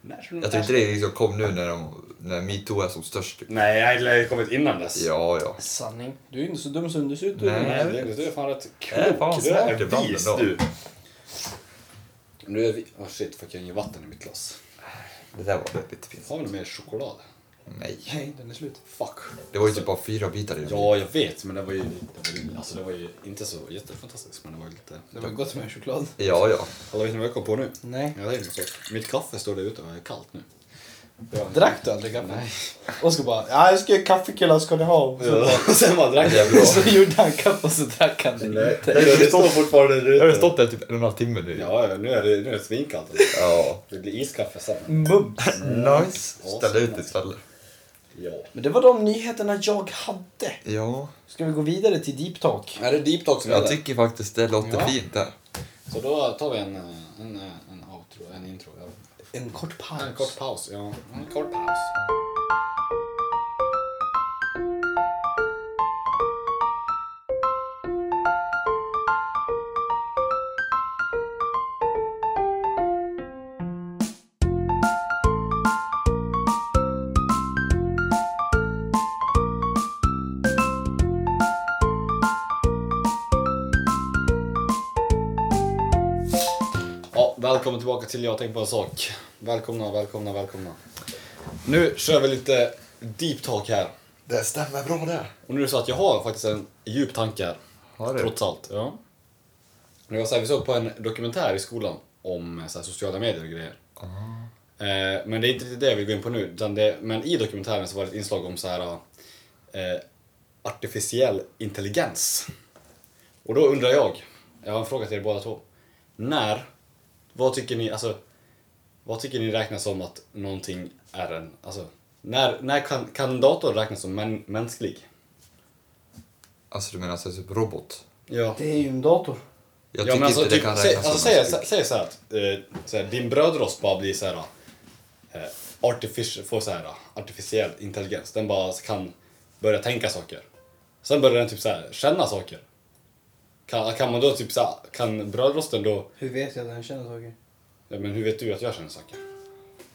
Speaker 2: National
Speaker 1: Jag tror inte
Speaker 2: ass-
Speaker 1: det liksom kom nu när, de, när metoo är som störst.
Speaker 2: Nej, det lär ju kommit innan dess.
Speaker 1: Ja, ja.
Speaker 3: Sanning. Du är inte så dum som du ser ut.
Speaker 1: Nej.
Speaker 2: Nej, det, det är fan rätt
Speaker 1: Det är
Speaker 2: klokt.
Speaker 1: fan
Speaker 2: Det
Speaker 1: smart
Speaker 2: är
Speaker 1: ibland
Speaker 2: vis
Speaker 1: ändå.
Speaker 2: du. Nu är vi... Åh shit, fuck jag har inget vatten i mitt glas.
Speaker 1: Det där var lite pinsamt.
Speaker 2: Har vi någon mer choklad?
Speaker 1: Nej.
Speaker 3: Nej, den är slut.
Speaker 2: Fuck.
Speaker 1: Det var ju typ bara fyra bitar i den.
Speaker 2: Ja, jag vet, men det var ju... Det var ju, alltså, det var ju inte så jättefantastiskt, men det var ju lite...
Speaker 3: Det var gott med choklad.
Speaker 1: Ja, ja.
Speaker 2: Alla vet ni vad jag kom på nu?
Speaker 3: Nej.
Speaker 2: Jag vet inte. Mitt kaffe står där ute och är kallt nu.
Speaker 3: Drack du aldrig kaffe?
Speaker 2: Nej.
Speaker 3: Och ska bara, ja jag ska göra kaffe killar ska ni ha. Och så-
Speaker 2: Och (laughs) sen bara drack
Speaker 3: (laughs)
Speaker 2: jag.
Speaker 1: Jävla-
Speaker 3: Så gjorde han kaffe och så drack han det inte.
Speaker 2: Det det står fortfarande där
Speaker 1: Jag har ju
Speaker 2: ute.
Speaker 1: stått där typ en och en halv timme nu.
Speaker 2: Ja, ja, nu är det, nu är det svinkallt.
Speaker 1: Ja.
Speaker 2: Det blir iskaffe sen.
Speaker 3: Mums.
Speaker 1: Nice.
Speaker 2: Ja,
Speaker 1: Ställa
Speaker 2: så
Speaker 1: ut
Speaker 2: nice.
Speaker 1: istället.
Speaker 2: Ja.
Speaker 3: Men det var de nyheterna jag hade.
Speaker 1: Ja.
Speaker 3: Ska vi gå vidare till deep talk?
Speaker 2: Är det deep talk som
Speaker 1: Jag
Speaker 2: gäller?
Speaker 1: tycker faktiskt det låter
Speaker 2: Ja.
Speaker 1: fint där.
Speaker 2: Så då tar vi en, eh, en, eh, en outro, en intro. ja.
Speaker 3: En kort paus.
Speaker 2: En kort paus, ja. En kort paus. Ja, välkommen tillbaka till Jag tänkte på en sak. Välkomna, välkomna, välkomna. Nu kör vi lite deep talk här.
Speaker 1: Det stämmer bra det.
Speaker 2: Och nu är det så att jag har faktiskt en djup tanke här.
Speaker 1: Har du?
Speaker 2: Trots allt. Ja. Det var så här, vi såg på en dokumentär i skolan om eh, så här, sociala medier och grejer.
Speaker 1: Ah.
Speaker 2: Eh, men det är inte riktigt det jag vill gå in på nu. Utan det, men i dokumentären så var det ett inslag om så här eh, artificiell intelligens. Och då undrar jag, jag har en fråga till er båda två. När, vad tycker ni, alltså, vad tycker ni räknas som att någonting är en, alltså, när, när kan, kan datorn räknas som män, mänsklig?
Speaker 1: Alltså du menar alltså typ robot?
Speaker 2: Ja.
Speaker 3: Det är ju en dator.
Speaker 1: Jag
Speaker 2: ja,
Speaker 1: tycker
Speaker 2: men alltså,
Speaker 1: inte det
Speaker 2: typ,
Speaker 1: kan
Speaker 2: säg,
Speaker 1: räknas
Speaker 2: alltså,
Speaker 1: som
Speaker 2: säg,
Speaker 1: mänsklig.
Speaker 2: säg så här att eh, så här, din brödrost bara blir så här eh, artificial, får så här eh, artificiell intelligens. Den bara kan börja tänka saker. Sen börjar den typ så här känna saker. Kan, kan man då typ så här, kan brödrosten då,
Speaker 3: Hur vet jag att den känner saker?
Speaker 2: ja, men hur vet du att jag känner saker?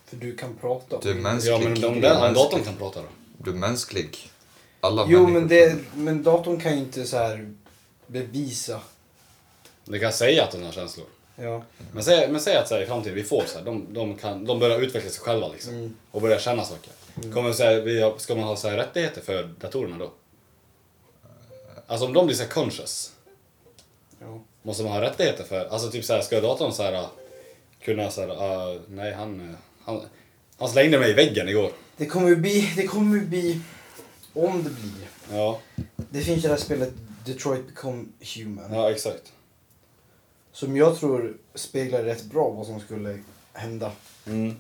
Speaker 3: För du kan prata.
Speaker 1: Du är mänsklig.
Speaker 2: Ja men om
Speaker 1: Du är
Speaker 2: den, om
Speaker 1: mänsklig.
Speaker 2: datorn kan prata då?
Speaker 1: Du är mänsklig. Alla
Speaker 3: Jo,
Speaker 1: människor
Speaker 3: men, det, men datorn kan ju inte så här bevisa.
Speaker 2: Den kan säga att den har känslor.
Speaker 3: Ja.
Speaker 2: Men säg, men säg att så här, i framtiden vi får så här, de, de, kan, de börjar utveckla sig själva liksom, och börjar känna saker. Kommer så här, vi, har- ska man ha så här, rättigheter för datorerna då? Alltså om de blir så här conscious,
Speaker 3: ja.
Speaker 2: måste man ha rättigheter för? Alltså typ så här, ska datorn så här, äh, kunna så här, äh, nej han, äh, han, han slängde mig i väggen igår.
Speaker 3: Det kommer ju bli, det kommer ju bli, om det blir.
Speaker 2: Ja,
Speaker 3: Det finns ju det här spelet Detroit Become Human.
Speaker 2: ja exakt.
Speaker 3: Som jag tror speglar rätt bra vad som skulle hända.
Speaker 2: Mm.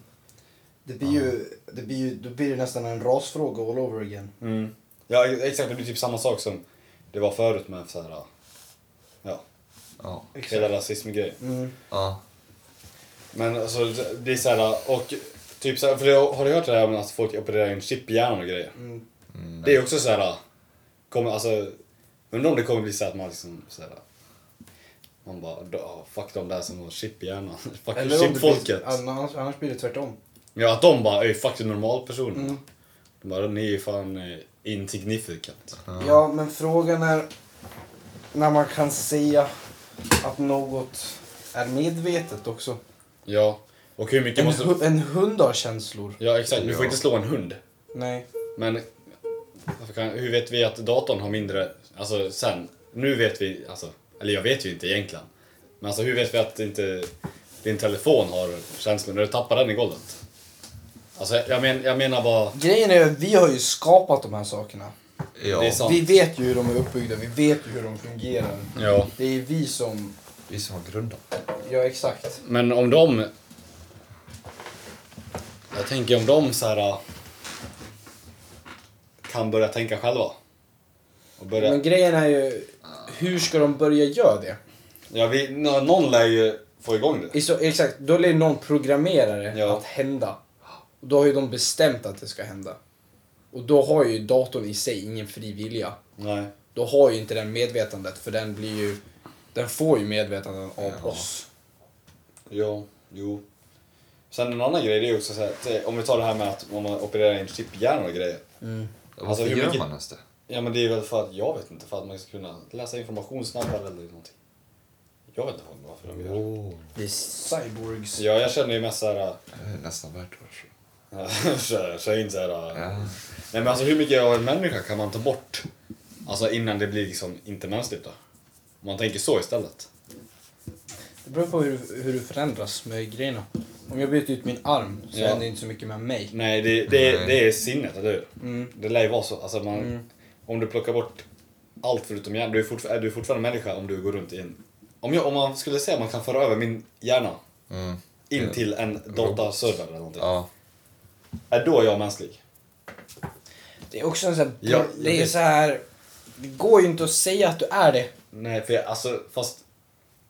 Speaker 3: Det blir ju, det blir ju, då blir det nästan en rasfråga all over again.
Speaker 2: Mm. Ja exakt, det blir typ samma sak som det var förut med så här, äh, ja,
Speaker 1: Ja.
Speaker 2: hela rasismgrejen.
Speaker 3: Mm.
Speaker 1: ja.
Speaker 2: Men alltså det- det är såhär, och typ såhär, för jag, har du hört det här om att folk opererar in chip i hjärnan och grejer?
Speaker 3: Mm.
Speaker 1: Mm,
Speaker 2: Det är också såhär, kommer, alltså, undrar om det kommer bli så att man liksom såhär, man bara, "Ja, fuck de där som har chip i hjärnan, (laughs) fuck
Speaker 3: om det
Speaker 2: chipfolket.
Speaker 3: blir, annars, annars blir det tvärtom.
Speaker 2: Ja, att de bara, "Ey, fuck de normalpersonerna.
Speaker 3: Mm.
Speaker 2: De bara, ni är fan eh, insignificant.
Speaker 3: Ja, men frågan är när man kan säga att något är medvetet också.
Speaker 2: Ja, och hur mycket
Speaker 3: En,
Speaker 2: måste...
Speaker 3: hu- en hund har känslor.
Speaker 2: Ja exakt, du får
Speaker 1: Ja.
Speaker 2: inte slå en hund.
Speaker 3: Nej.
Speaker 2: Men varför kan, hur vet vi att datorn har mindre, alltså sen, nu vet vi, alltså, eller jag vet ju inte egentligen. Men alltså hur vet vi att inte din telefon har känslor när du tappar den i golvet? Alltså jag, men, jag menar bara,
Speaker 3: Grejen är att vi har ju skapat de här sakerna.
Speaker 1: Ja,
Speaker 2: det är sant.
Speaker 3: Vi vet ju hur de är uppbyggda, vi vet ju hur de fungerar.
Speaker 2: Ja.
Speaker 3: Det är vi som...
Speaker 1: vi som har grundat.
Speaker 3: Ja, exakt.
Speaker 2: Men om de... Jag tänker om de så här äh, kan börja tänka själva. Och börja...
Speaker 3: Men grejen är ju, hur ska de börja göra det?
Speaker 2: Ja, vi, nå- någon lär ju få igång det.
Speaker 3: I så, exakt, då lär ju någon programmera det
Speaker 2: Ja.
Speaker 3: att hända. Och då har ju de bestämt att det ska hända. Och då har ju datorn i sig ingen fri vilja.
Speaker 2: Nej.
Speaker 3: Då har ju inte den medvetandet för den blir ju... Den får ju medvetandet av
Speaker 1: Ja.
Speaker 3: oss.
Speaker 2: Ja, jo. Sen en annan grej, det är också så här, att, eh, om vi tar det här med att om man opererar in chip i hjärnan och grejer.
Speaker 1: Mm. Varför
Speaker 2: Alltså, hur
Speaker 1: gör
Speaker 2: mycket-
Speaker 1: man ens det?
Speaker 2: Ja men det är väl för att, jag vet inte, för att man ska kunna läsa information snabbare eller någonting. Jag vet inte vad- varför de gör det.
Speaker 1: Åh,
Speaker 3: Det är cyborgs.
Speaker 2: Ja, jag känner ju mest eh, (laughs) såhär,
Speaker 1: det är nästan värt att vara så.
Speaker 2: kör in såhär.
Speaker 1: Ja.
Speaker 2: Nej men alltså hur mycket av en människa kan man ta bort? Alltså innan det blir liksom inte mänskligt då? Om man tänker så istället.
Speaker 3: Det beror på hur, du- hur du förändras med grejerna. Om jag byter ut min arm så
Speaker 2: Ja.
Speaker 3: händer det inte så mycket med mig.
Speaker 2: Nej, det, det,
Speaker 1: Nej.
Speaker 2: det är sinnet, eller hur?
Speaker 3: Mm.
Speaker 2: Det lär ju vara så. Alltså man,
Speaker 3: Mm.
Speaker 2: Om du plockar bort allt förutom hjärnan, du är, fortfar- är du fortfarande människa om du går runt i en... Om, jag, om man skulle säga att man kan föra över min hjärna
Speaker 1: Mm.
Speaker 2: in
Speaker 1: Ja.
Speaker 2: till en dataserver eller någonting.
Speaker 1: Ja.
Speaker 2: Är då jag mänsklig?
Speaker 3: Det är också en sån här...
Speaker 2: Ja, jag
Speaker 3: det är
Speaker 2: vet.
Speaker 3: så här... Det går ju inte att säga att du är det.
Speaker 2: Nej, för jag, alltså fast...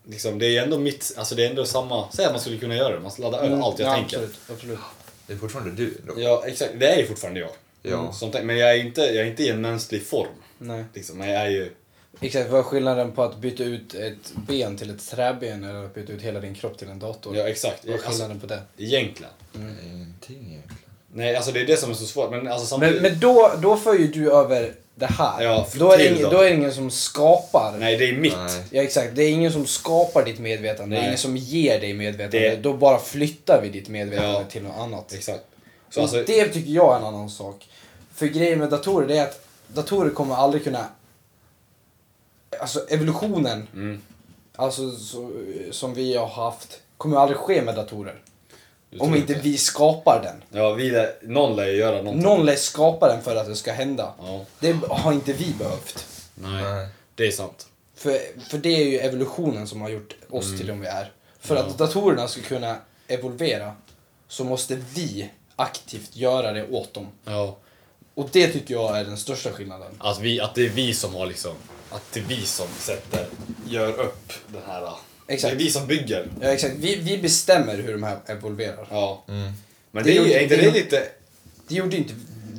Speaker 2: Liksom, det är ändå mitt, alltså det är ändå samma... Säg att man skulle kunna göra det, man laddar över allt jag
Speaker 3: Mm, ja,
Speaker 2: tänker.
Speaker 3: Absolut, absolut.
Speaker 1: Det är fortfarande du då.
Speaker 2: Ja, exakt. Det är ju fortfarande jag. Mm.
Speaker 1: Ja.
Speaker 2: Som, tänk- men jag är, inte, jag är inte i en mänsklig form.
Speaker 3: Nej.
Speaker 2: Liksom, men jag är ju...
Speaker 3: Exakt, vad är skillnaden på att byta ut ett ben till ett träben eller att byta ut hela din kropp till en dator?
Speaker 2: Ja, exakt.
Speaker 3: vad är
Speaker 2: Alltså,
Speaker 3: skillnaden på det?
Speaker 2: egentligen.
Speaker 1: Mm, Ingenting egentligen.
Speaker 2: Nej, alltså det är det som är så svårt. Men alltså
Speaker 3: Men,
Speaker 2: samtidigt...
Speaker 3: men då, då för ju du över det här.
Speaker 2: Ja,
Speaker 3: då, är det
Speaker 2: till
Speaker 3: ingen,
Speaker 2: då.
Speaker 3: då är det ingen som skapar.
Speaker 2: Nej, det är mitt.
Speaker 1: Nej.
Speaker 3: Ja, exakt. Det är ingen som skapar ditt medvetande. Det
Speaker 2: Nej.
Speaker 3: är ingen som ger dig medvetande.
Speaker 2: Det-
Speaker 3: Då bara flyttar vi ditt medvetande
Speaker 2: Ja.
Speaker 3: till något annat.
Speaker 2: Exakt. Så alltså,
Speaker 3: Och det tycker jag är en annan sak. För grejen med datorer det är att datorer kommer aldrig kunna... Alltså evolutionen
Speaker 2: mm,
Speaker 3: alltså, så, som vi har haft kommer aldrig ske med datorer.
Speaker 2: du
Speaker 3: Om
Speaker 2: tror
Speaker 3: inte vi skapar den.
Speaker 2: Ja, vi lär, någon lär ju göra någonting.
Speaker 3: Någon lär skapa den för att det ska hända.
Speaker 2: Ja,
Speaker 3: Det har inte vi behövt.
Speaker 2: nej.
Speaker 1: Nej.
Speaker 2: Det är sant.
Speaker 3: För, för det är ju evolutionen som har gjort oss till
Speaker 2: Mm.
Speaker 3: de vi är. För att datorerna ska kunna evolvera så måste vi aktivt göra det åt dem.
Speaker 2: Ja.
Speaker 3: Och det tycker jag är den största skillnaden.
Speaker 2: Att, vi, att det är vi som har liksom... Att det är vi som sätter... Gör upp den här...
Speaker 3: Exakt.
Speaker 2: Det är vi som bygger.
Speaker 3: Ja, exakt. Vi, vi bestämmer hur de här evolverar.
Speaker 2: Ja.
Speaker 1: Mm.
Speaker 2: Men det,
Speaker 3: Det
Speaker 2: är ju
Speaker 3: gjorde-
Speaker 2: är inte
Speaker 3: det
Speaker 2: det
Speaker 3: gjorde-
Speaker 2: lite...
Speaker 3: Det gjorde inte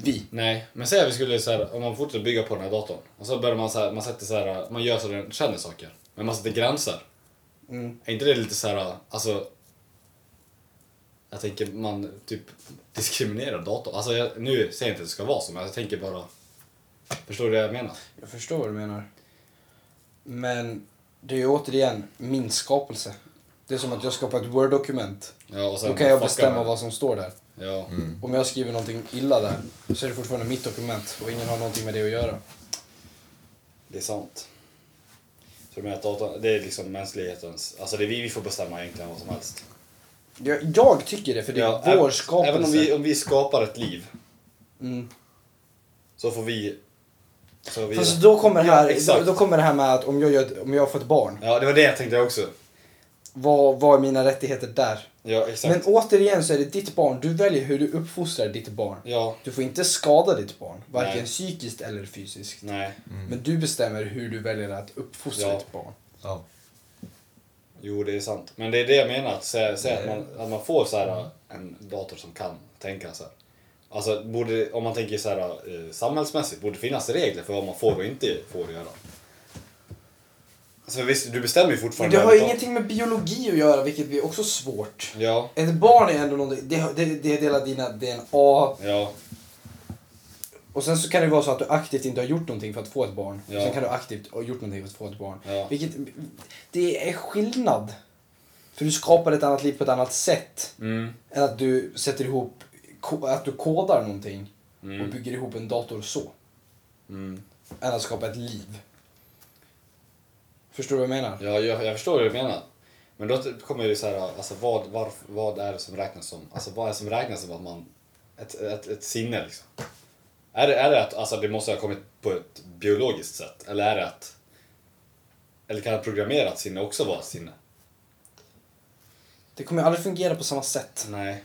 Speaker 3: vi.
Speaker 2: Nej, men säg att vi skulle så här, om man fortsätter bygga på den här datorn. Och så börjar man så här, man sätter så här, man gör så den känner saker. Men man sätter gränser.
Speaker 3: Mm.
Speaker 2: Är inte det lite så här, alltså... Jag tänker man typ diskriminerar datorn. Alltså jag, nu säger jag inte att det ska vara så, men jag tänker bara... Förstår du vad jag menar?
Speaker 3: Jag förstår vad du menar. Men det är ju återigen min skapelse. Det är som att jag skapar ett word-dokument.
Speaker 2: Ja, och sen
Speaker 3: Då kan jag
Speaker 2: fuckar
Speaker 3: bestämma
Speaker 2: man-
Speaker 3: vad som står där.
Speaker 2: Ja.
Speaker 3: Om jag skriver någonting illa där så är det fortfarande mitt dokument och ingen har någonting med det att göra.
Speaker 2: Det är sant. Så du menar att datorn, det är liksom mänsklighetens... Alltså det är vi, vi får bestämma egentligen vad som helst.
Speaker 3: Jag, jag tycker det, för det är
Speaker 2: även-
Speaker 3: vår skapelse.
Speaker 2: Även om vi, om vi skapar ett liv
Speaker 3: mm.
Speaker 2: så får vi... Så vi
Speaker 3: Fast då kommer, det
Speaker 2: Ja,
Speaker 3: här,
Speaker 2: exakt.
Speaker 3: då, då kommer det här med att om jag, gör, ett- om jag får ett barn,
Speaker 2: Ja, det var det jag tänkte också.
Speaker 3: vad, vad är mina rättigheter där?
Speaker 2: Ja,
Speaker 3: Men
Speaker 2: exakt.
Speaker 3: återigen så är det ditt barn, du väljer hur du uppfostrar ditt barn.
Speaker 2: Ja,
Speaker 3: Du får inte skada ditt barn, varken
Speaker 2: Nej.
Speaker 3: psykiskt eller fysiskt.
Speaker 2: nej.
Speaker 3: Men du bestämmer hur du väljer att uppfostra
Speaker 2: Ja.
Speaker 3: ditt barn.
Speaker 1: Ja.
Speaker 2: Jo, det är sant. Men det är det jag menar. Att säga, säga att, man, att man får så här, en dator som kan tänka så här. Alltså, borde, om man tänker så här, eh, samhällsmässigt, borde det finnas regler för vad man får och inte får göra? Alltså visst, du bestämmer ju
Speaker 3: Men
Speaker 2: fortfarande.
Speaker 3: det har ju
Speaker 2: över-
Speaker 3: ingenting med biologi att göra, vilket är också svårt.
Speaker 2: Ja,
Speaker 3: Ett barn är ändå någonting, det, det, det delar dina DNA.
Speaker 2: ja,
Speaker 3: Och sen så kan det vara så att du aktivt inte har gjort någonting för att få ett barn.
Speaker 2: Ja.
Speaker 3: Sen kan du aktivt ha gjort någonting för att få ett barn.
Speaker 2: Ja.
Speaker 3: Vilket, det är skillnad. För du skapar ett annat liv på ett annat sätt.
Speaker 2: mm,
Speaker 3: Än att du sätter ihop, ko- att du kodar någonting och
Speaker 2: mm,
Speaker 3: bygger ihop en dator så.
Speaker 2: mm.
Speaker 3: Än att skapa ett liv. Förstår du vad jag menar?
Speaker 2: Ja, jag, jag förstår vad du menar. Men då kommer det så här, alltså vad, var, vad är det som räknas som, alltså vad är det som räknas som att man, ett, ett, ett sinne liksom? Är det, är det att alltså, det måste ha kommit på ett biologiskt sätt? Eller är det att, eller kan ett programmerat sinne också vara ett sinne?
Speaker 3: Det kommer ju aldrig fungera på samma sätt.
Speaker 2: Nej.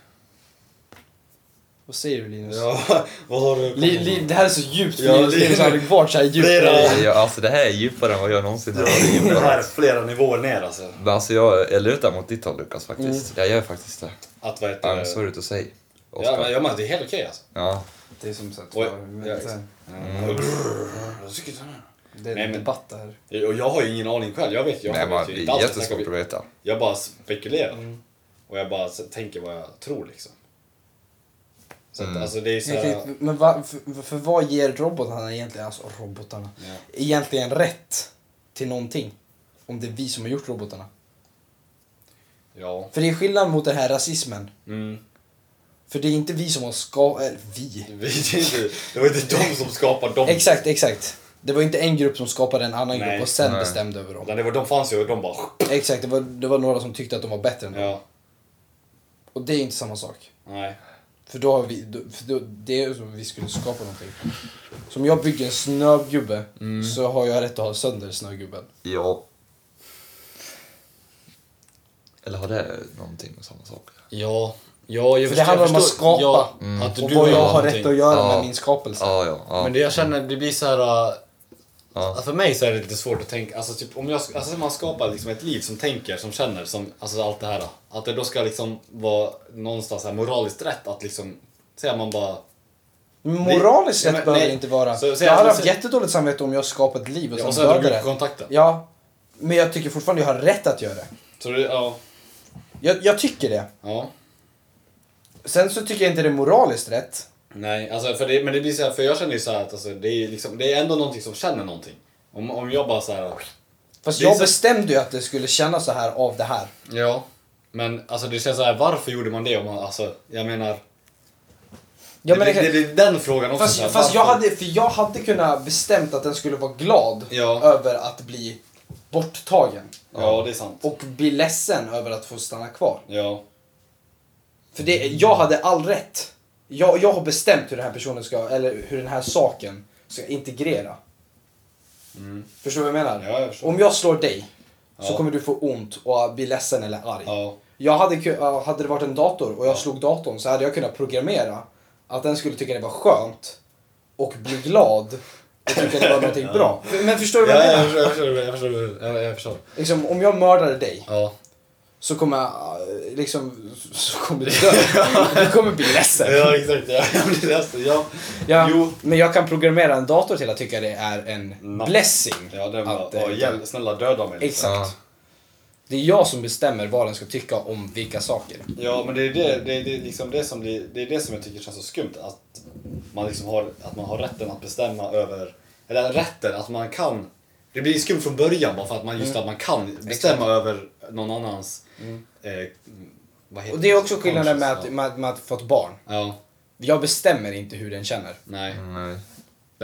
Speaker 3: Vad säger du Linus?
Speaker 2: Ja, (laughs) vad har du?
Speaker 3: Li, li, det här är så djupt för
Speaker 2: Ja,
Speaker 3: Linus,
Speaker 2: li-
Speaker 3: Linus har aldrig varit så här djupt.
Speaker 2: Flera.
Speaker 1: Ja, alltså det här är djupare än vad jag någonsin har varit
Speaker 2: det
Speaker 1: inne
Speaker 2: här är flera nivåer ner alltså.
Speaker 1: Men alltså jag, jag lutar mot ditt håll Lukas faktiskt. Jag gör faktiskt det.
Speaker 2: Att vad heter
Speaker 1: I'm
Speaker 2: det?
Speaker 1: sorry to say. Oscar.
Speaker 2: Mm. Ja, men, ja, men det är helt okej alltså.
Speaker 1: ja.
Speaker 3: Det är som sagt
Speaker 2: Oj,
Speaker 3: var, men
Speaker 2: ja,
Speaker 3: det-
Speaker 2: exakt.
Speaker 1: Mm.
Speaker 3: det är
Speaker 2: Nej,
Speaker 3: en
Speaker 2: men-
Speaker 3: debatt det här.
Speaker 2: Och jag har ju ingen aning själv, jag vet, jag
Speaker 1: Nej,
Speaker 2: vet
Speaker 1: man,
Speaker 2: ju
Speaker 1: det
Speaker 2: inte
Speaker 1: är
Speaker 2: alls. Jag snackar-
Speaker 1: jättesvårt att veta.
Speaker 2: Jag bara spekulerar. Och jag bara s- tänker vad jag tror liksom. Så att,
Speaker 1: Mm.
Speaker 2: alltså det är så
Speaker 3: Jag
Speaker 2: här,
Speaker 3: tänkte, men va, för, för vad ger robotarna egentligen, alltså robotarna,
Speaker 2: Ja.
Speaker 3: egentligen rätt till någonting? Om det är vi som har gjort robotarna.
Speaker 2: Ja.
Speaker 3: För det är skillnad mot den här rasismen.
Speaker 2: Mm. (laughs)
Speaker 3: För det är inte vi som har skapat, eller vi.
Speaker 2: Vi- det är inte- Det var inte de som skapade dem.
Speaker 3: Exakt, exakt. Det var inte en grupp som skapade en annan
Speaker 2: Nej.
Speaker 3: grupp och sen
Speaker 1: Nej.
Speaker 3: bestämde över dem.
Speaker 2: Utan det var, de fanns ju och de bara...
Speaker 3: Exakt, det var, det var några som tyckte att de var bättre än dem.
Speaker 2: Ja.
Speaker 3: Och det är inte samma sak.
Speaker 2: Nej.
Speaker 3: För då har vi, då, för då, det är som om vi skulle skapa någonting. Så om jag bygger en snögubbe
Speaker 1: Mm.
Speaker 3: så har jag rätt att ha sönder snögubben.
Speaker 1: Ja. Eller har det någonting med samma sak?
Speaker 2: Ja. Ja, jag Mm.
Speaker 3: För det handlar om att skapa.
Speaker 2: att
Speaker 3: Och vad jag har rätt att göra
Speaker 1: Mm. Ja.
Speaker 3: med min skapelse.
Speaker 1: Ja, ja. ja.
Speaker 2: Men det jag känner, det blir så här... äh,
Speaker 1: ja.
Speaker 2: För mig så är det lite svårt att tänka, alltså typ om jag, alltså man skapar liksom ett liv som tänker, som känner, som, alltså allt det här. då. Att det då ska liksom vara någonstans här moraliskt rätt att liksom, säga man bara
Speaker 3: Moraliskt
Speaker 2: Nej,
Speaker 3: sett
Speaker 2: men-
Speaker 3: behöver
Speaker 2: nej.
Speaker 3: det inte vara.
Speaker 2: Så- så
Speaker 3: jag
Speaker 2: jag-
Speaker 3: hade haft
Speaker 2: så-
Speaker 3: jättedåligt samvete om jag skapat ett liv och
Speaker 2: Ja, och
Speaker 3: sen
Speaker 2: så hade du
Speaker 3: dödade
Speaker 2: gjort
Speaker 3: det.
Speaker 2: kontakten.
Speaker 3: Ja, men jag tycker fortfarande jag har rätt att göra det.
Speaker 2: Så det, ja.
Speaker 3: Jag, jag tycker det.
Speaker 2: Ja.
Speaker 3: Sen så tycker jag inte det är moraliskt rätt.
Speaker 2: Nej, alltså för det, men det blir så här, för jag känner ju så här att alltså, det, är liksom, det är ändå någonting som känner någonting. Om, om jag bara så här,
Speaker 3: Fast
Speaker 2: Det är
Speaker 3: jag
Speaker 2: så-
Speaker 3: bestämde ju att det skulle kännas så här av det här.
Speaker 2: ja. Men alltså det känns så här, varför gjorde man det? Om man, alltså, jag menar,
Speaker 3: Ja,
Speaker 2: det,
Speaker 3: men
Speaker 2: blir,
Speaker 3: det kan-
Speaker 2: det blir den frågan också.
Speaker 3: Fast,
Speaker 2: så här,
Speaker 3: fast jag,
Speaker 2: varför?
Speaker 3: hade, för jag hade kunnat bestämt att den skulle vara glad
Speaker 2: Ja.
Speaker 3: över att bli borttagen.
Speaker 2: Ja, det är sant.
Speaker 3: Och bli ledsen över att få stanna kvar.
Speaker 2: Ja.
Speaker 3: För det, jag hade all rätt. Jag, jag har bestämt hur den här personen ska, eller hur den här saken ska integrera. Förstår du vad jag menar?
Speaker 2: Mm. Ja, jag förstår.
Speaker 3: Om jag slår dig så
Speaker 2: Ja.
Speaker 3: kommer du få ont och bli ledsen eller arg.
Speaker 2: Ja.
Speaker 3: Jag hade, ku- ja, hade det varit en dator och jag slog datorn så hade jag kunnat programmera att den skulle tycka det var skönt och bli glad och
Speaker 2: (laughs)
Speaker 3: tycka det var någonting bra. Men förstår du vad jag
Speaker 2: Ja, jag
Speaker 3: menar?
Speaker 2: förstår, jag förstår, jag förstår, jag, jag förstår.
Speaker 3: Liksom, om jag mördade dig
Speaker 2: Ja.
Speaker 3: så kommer jag eh, liksom, (laughs) så kommer du dö. Du kommer bli ledsen.
Speaker 2: ja, exakt. Ja, (laughs) jag blir ledsen. Ja.
Speaker 3: Ja,
Speaker 2: Jo.
Speaker 3: Men jag kan programmera en dator till att tycka det är en
Speaker 2: Napp.
Speaker 3: blessing.
Speaker 2: Ja, den bara,
Speaker 3: att, eh,
Speaker 2: åh, hjälp, snälla döda mig. liksom.
Speaker 3: Exakt. Det är jag som bestämmer vad den ska tycka om vilka saker.
Speaker 2: Ja, men det är det, det, är det, liksom det, som blir, det är det som jag tycker känns så skumt. Att man, liksom har, att man har rätten att bestämma över... Eller rätten, att man kan... Det blir skumt från början bara för att man
Speaker 3: Mm.
Speaker 2: just att man kan bestämma över någon annans... Eh, vad heter
Speaker 3: Och det är också skillnaden med att,
Speaker 2: Conscious,
Speaker 3: med, med att få ett barn.
Speaker 2: Ja, ja
Speaker 3: Jag bestämmer inte hur den känner.
Speaker 2: nej.
Speaker 1: Mm, Nej.
Speaker 2: Den
Speaker 3: Mm.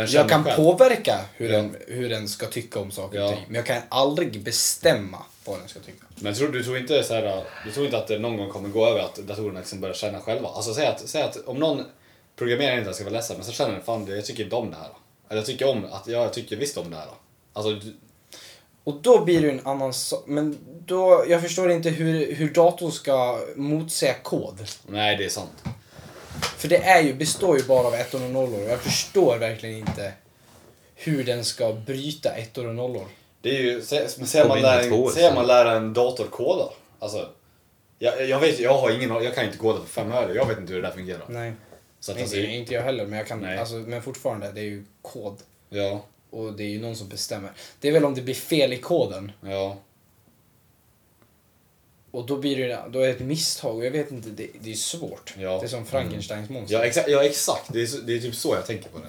Speaker 3: Jag
Speaker 2: känner
Speaker 3: kan
Speaker 2: själv.
Speaker 3: påverka hur,
Speaker 2: Ja.
Speaker 3: den, hur den ska tycka om saker och
Speaker 2: Ja.
Speaker 3: ting. Men jag kan aldrig bestämma vad den ska tycka.
Speaker 2: Men tror, du, tror inte så här, du tror inte att det någon gång kommer gå över att datorerna liksom börjar känna själva? Alltså säg att, säg att om någon programmerar inte att ska vara ledsen men så känner den fan det- jag tycker inte om det här. Eller jag tycker om att ja, jag tycker visst om det här. Alltså, du-
Speaker 3: Och då blir det ju en annan sak. Men då, jag förstår inte hur, hur datorn ska motsäga kod.
Speaker 2: nej det är sant.
Speaker 3: För det är ju, består ju bara av ettor och nollor. Och jag förstår verkligen inte hur den ska bryta ettor och nollor.
Speaker 2: Det är ju, se, men ser man
Speaker 1: Kom in i
Speaker 2: lära,
Speaker 1: två
Speaker 2: en,
Speaker 1: år
Speaker 2: ser
Speaker 1: sen.
Speaker 2: man lära en dator koda? Alltså, jag, jag vet jag har ingen jag kan inte koda för fem öre. Jag vet inte hur det där fungerar.
Speaker 3: Nej.
Speaker 2: Så att, alltså,
Speaker 3: Inte, inte jag heller, men, jag kan,
Speaker 2: Nej.
Speaker 3: alltså, men fortfarande, det är ju kod.
Speaker 2: ja,
Speaker 3: Och det är ju någon som bestämmer. Det är väl om det blir fel i koden.
Speaker 2: ja.
Speaker 3: Och då blir det, då är det ett misstag och jag vet inte, det, det är svårt.
Speaker 2: Ja. Mm.
Speaker 3: Det är som Frankensteins monster.
Speaker 2: Ja, exa ja exakt, det är, så- det är typ så jag tänker på det.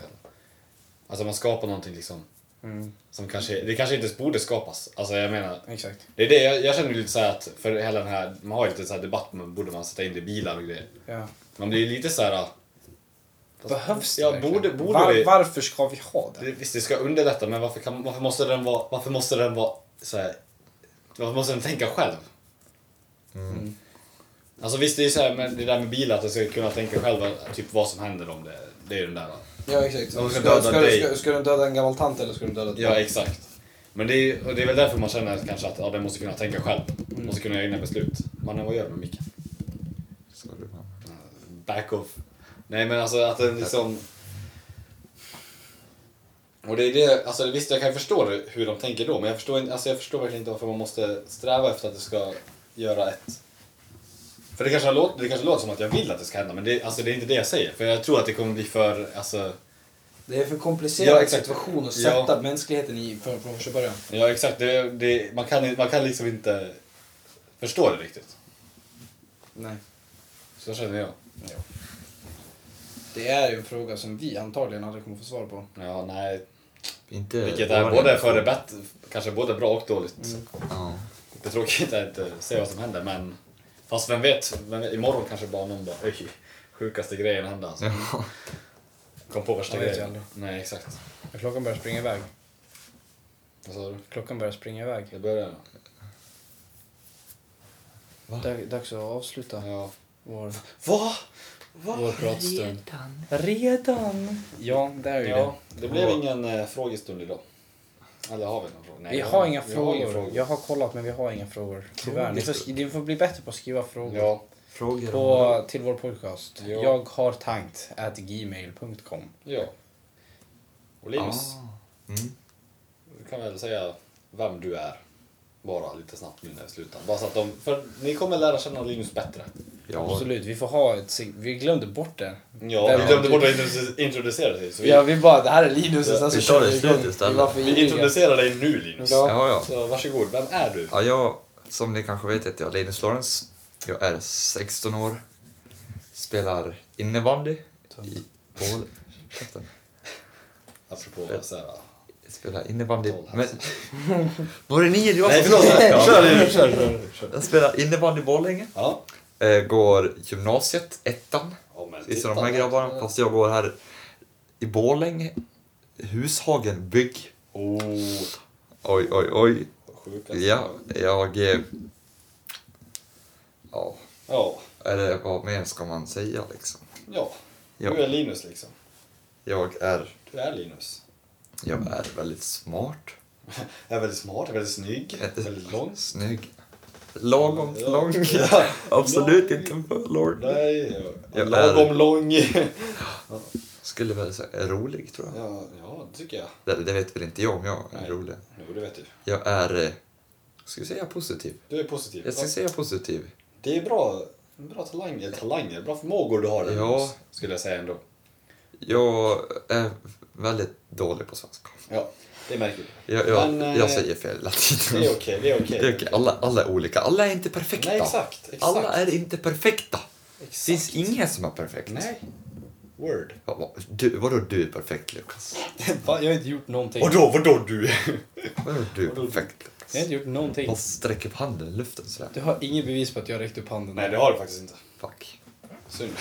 Speaker 2: Alltså man skapar någonting liksom.
Speaker 3: Mm,
Speaker 2: Som kanske, det kanske inte borde skapas. Alltså jag menar.
Speaker 3: Exakt.
Speaker 2: Det är det, jag, jag känner ju lite så här att för hela den här, man har ju lite så här debatt om borde man sätta in det i bilar och grejer.
Speaker 3: Ja.
Speaker 2: Man blir ju lite så här. fast-
Speaker 3: Behövs det
Speaker 2: Ja,
Speaker 3: verkligen?
Speaker 2: borde, borde
Speaker 3: Var,
Speaker 2: det,
Speaker 3: Varför ska vi ha det?
Speaker 2: det? Visst, det ska underlätta men varför, kan, varför måste den vara, varför måste den vara så här, varför måste den tänka själv?
Speaker 3: Mm.
Speaker 2: Alltså visst, det är ju så här med det där med bilar, att den ska kunna tänka själv typ vad som händer om det, det är ju den där.
Speaker 3: Ja, exakt.
Speaker 2: De ska döda dig.
Speaker 3: ska den döda en gammal tant eller ska den döda ett
Speaker 2: Ja,
Speaker 3: barn?
Speaker 2: exakt. Men det är, och det är väl därför man känner kanske att ja, den måste kunna tänka själv. Måste kunna göra egna beslut. Mannen, vad gör du med micken?
Speaker 1: Så det var-
Speaker 2: Back off. Nej, men alltså att den liksom... Och det är det, alltså visst jag kan förstå det, hur de tänker då, men jag förstår, inte- alltså, jag förstår verkligen inte varför man måste sträva efter att det ska göra ett... För det kanske, har låt, det kanske låter som att jag vill att det ska hända, men det, alltså, det är inte det jag säger. För jag tror att det kommer bli för, alltså...
Speaker 3: Det är för komplicerad
Speaker 2: Ja, exakt.
Speaker 3: situation att
Speaker 2: Ja.
Speaker 3: sätta mänskligheten i från, från första början.
Speaker 2: Ja, exakt. Det, det, man, kan, man kan liksom inte förstå det riktigt.
Speaker 3: Nej.
Speaker 2: Så känner jag.
Speaker 3: Det är ju en fråga som vi antagligen aldrig kommer få svar på.
Speaker 2: Ja, nej.
Speaker 1: Inte
Speaker 2: Vilket är både före bättre, kanske både bra och dåligt.
Speaker 1: Ja.
Speaker 2: Det tråkigt är inte att se vad som händer, men... Fast vem vet, vem vet imorgon kanske bara någon bara oj, sjukaste grejen hände alltså.
Speaker 1: Ja.
Speaker 2: Kom på värsta
Speaker 3: Man vet ju
Speaker 2: grejen.
Speaker 3: aldrig.
Speaker 2: Nej, exakt.
Speaker 3: Klockan börjar springa iväg.
Speaker 2: Vad sa du?
Speaker 3: Klockan börjar springa iväg.
Speaker 2: Jag börjar.
Speaker 3: Dag- Dags att avsluta
Speaker 2: Ja.
Speaker 3: vår,
Speaker 2: Va?
Speaker 3: vår pratstund. Redan? Ja, det är ju
Speaker 2: Ja, det blev ingen eh, frågestund idag. Eller har vi någon fråga?
Speaker 3: det.
Speaker 2: Nej,
Speaker 3: Vi
Speaker 2: jag
Speaker 3: har inga
Speaker 2: vi
Speaker 3: frågor.
Speaker 2: ingen
Speaker 3: Jag har kollat men vi har inga frågor. Tyvärr. Ni får, sk- ni får bli bättre på att skriva frågor.
Speaker 2: Ja,
Speaker 1: Frågor om...
Speaker 3: På, till vår podcast.
Speaker 2: Ja.
Speaker 3: Jag har tankt at gmail.com.
Speaker 2: ja. Och Linus?
Speaker 1: Mm.
Speaker 2: Du kan väl säga vem du är. Bara lite snabbt nu när vi slutar. Bara så att de, för ni kommer lära känna Linus bättre.
Speaker 1: Ja.
Speaker 3: Absolut, vi får ha ett... sig- Vi glömde bort det.
Speaker 2: Ja,
Speaker 3: Vem
Speaker 2: vi
Speaker 3: är
Speaker 2: glömde
Speaker 3: du?
Speaker 2: bort att introdu- introducera dig. Så vi,
Speaker 3: Ja, vi bara, det här är Linus och sen så
Speaker 1: Vi tar det
Speaker 3: vi
Speaker 1: i slutet
Speaker 3: igång.
Speaker 1: istället.
Speaker 3: Vi var för
Speaker 2: vi
Speaker 3: ivriga. (laughs)
Speaker 2: introducerar dig nu Linus.
Speaker 3: Ja.
Speaker 1: Ja, ja.
Speaker 2: Så varsågod, vem är du?
Speaker 1: Ja, jag, som ni kanske vet heter jag Linus Lorenz. Jag är 16 år. Spelar innebandy i Ål... Ursäkta.
Speaker 2: Apropå ja. så här.
Speaker 1: Jag Spelar innebandy...
Speaker 2: Ål,
Speaker 1: Men... (laughs) Var det ni? Det var
Speaker 2: Nej
Speaker 1: som-
Speaker 2: förlåt,
Speaker 1: (laughs)
Speaker 2: kör
Speaker 1: Ja.
Speaker 2: Linus, kör, kör, kör.
Speaker 1: Jag spelar innebandy i Borlänge.
Speaker 2: Ja.
Speaker 1: Eh, Går gymnasiet, ettan.
Speaker 2: Ja men
Speaker 1: vissa av de här grabbarna. Fast jag går här i Borlänge, Hushagen bygg.
Speaker 2: Oh,
Speaker 1: Oj, oj, oj.
Speaker 2: sjukt alltså.
Speaker 1: Ja, jag... eh, Ja,
Speaker 2: Ja,
Speaker 1: eller vad mer ska man säga liksom?
Speaker 2: ja. Du är
Speaker 1: Jag,
Speaker 2: Linus liksom.
Speaker 1: jag är...
Speaker 2: Du är Linus.
Speaker 1: Jag är väldigt smart.
Speaker 2: Jag är väldigt smart, jag är väldigt snygg, väldigt lång.
Speaker 1: Snygg. Lagom
Speaker 2: Ja.
Speaker 1: lång. (laughs)
Speaker 2: Ja.
Speaker 1: Absolut
Speaker 2: Lång.
Speaker 1: inte för lång.
Speaker 2: Nej, jag är
Speaker 1: Jag är-
Speaker 2: lagom lång. (laughs)
Speaker 1: Skulle väl säga rolig, tror jag.
Speaker 2: Ja, ja, det tycker jag.
Speaker 1: Det, det vet väl inte jag om jag är
Speaker 2: Nej.
Speaker 1: rolig.
Speaker 2: Jo, det vet du.
Speaker 1: Jag är... eh, Ska vi säga positiv?
Speaker 2: Du är positiv.
Speaker 1: Jag ska säga positiv.
Speaker 2: Det är bra, bra talanger, talanger, bra förmågor du har där,
Speaker 1: Ja.
Speaker 2: Linus, skulle jag säga ändå.
Speaker 1: Jag är väldigt dålig på svenska.
Speaker 2: Ja, det märker vi.
Speaker 1: Jag, jag,
Speaker 2: Men, eh,
Speaker 1: jag säger fel hela tiden. (laughs)
Speaker 2: Det är okej, det är okej.
Speaker 1: Det är okej. Alla, alla är olika. Alla är inte perfekta.
Speaker 2: Nej, exakt, exakt.
Speaker 1: Alla är inte perfekta. Det finns
Speaker 2: Exakt.
Speaker 1: ingen som är perfekt.
Speaker 2: Nej. Word.
Speaker 1: Ja, vad- Du, vadå du är perfekt, Lukas?
Speaker 3: Fan, jag har inte gjort någonting.
Speaker 2: Vadå, vadå du?
Speaker 1: Vadå du är perfekt, Lukas?
Speaker 3: Jag har inte gjort någonting.
Speaker 1: Man sträcker upp handen i luften sådär.
Speaker 3: Du har inget bevis på att jag räckte upp handen.
Speaker 2: (laughs) Nej, det har du faktiskt inte.
Speaker 1: Fuck.
Speaker 2: Synd.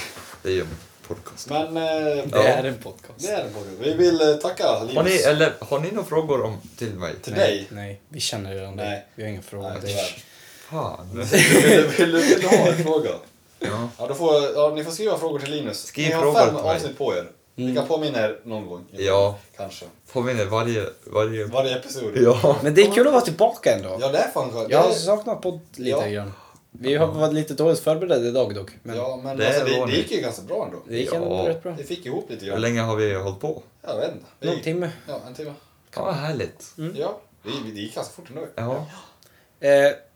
Speaker 1: Det är ju en podcast.
Speaker 2: Men eh,
Speaker 3: Det är en podcast.
Speaker 2: det är det Bobby. Vi vill eh, tacka
Speaker 1: Har ni,
Speaker 2: Linus.
Speaker 1: eller, har ni några frågor om, till mig?
Speaker 2: Till
Speaker 3: Nej,
Speaker 2: dig.
Speaker 3: nej, vi känner redan det.
Speaker 2: Nej.
Speaker 3: Vi har inga frågor.
Speaker 2: Nej,
Speaker 3: Det-
Speaker 2: tyvärr.
Speaker 1: Fan.
Speaker 2: (laughs) Vill, vill, vill du
Speaker 1: (laughs)
Speaker 2: ha en fråga?
Speaker 1: Ja.
Speaker 2: Ja, då får, ja, ni får skriva frågor till Linus.
Speaker 1: Skriv
Speaker 2: ni har
Speaker 1: frågor
Speaker 2: fem
Speaker 1: till mig. Mm.
Speaker 2: avsnitt på er. Ni kan påminna er någon gång.
Speaker 1: Ja.
Speaker 2: Kanske.
Speaker 1: Påminner varje... varje...
Speaker 2: Varje episod.
Speaker 1: Ja.
Speaker 3: Men det är kul att vara tillbaka ändå.
Speaker 2: Ja, det är fan skönt.
Speaker 3: Jag har
Speaker 2: Det-
Speaker 3: saknat podd lite
Speaker 2: Eh, Ja.
Speaker 3: grann. Vi har varit lite dåligt förberedda idag dock. Men
Speaker 2: ja, men
Speaker 1: Det
Speaker 2: det, alltså,
Speaker 1: är
Speaker 2: det, det
Speaker 1: vanligt.
Speaker 2: gick ju ganska bra ändå.
Speaker 3: det gick ändå
Speaker 1: Ja.
Speaker 3: rätt bra.
Speaker 2: Vi fick ihop lite
Speaker 1: Hur
Speaker 2: grann.
Speaker 1: länge har vi hållit på?
Speaker 2: Jag vet inte. Det
Speaker 3: Någon
Speaker 2: gick,
Speaker 3: timme.
Speaker 2: ja, en timme.
Speaker 1: Ja, vad härligt.
Speaker 2: Ja, det, gick- det gick ganska fort ändå.
Speaker 1: Ja.
Speaker 3: Eh,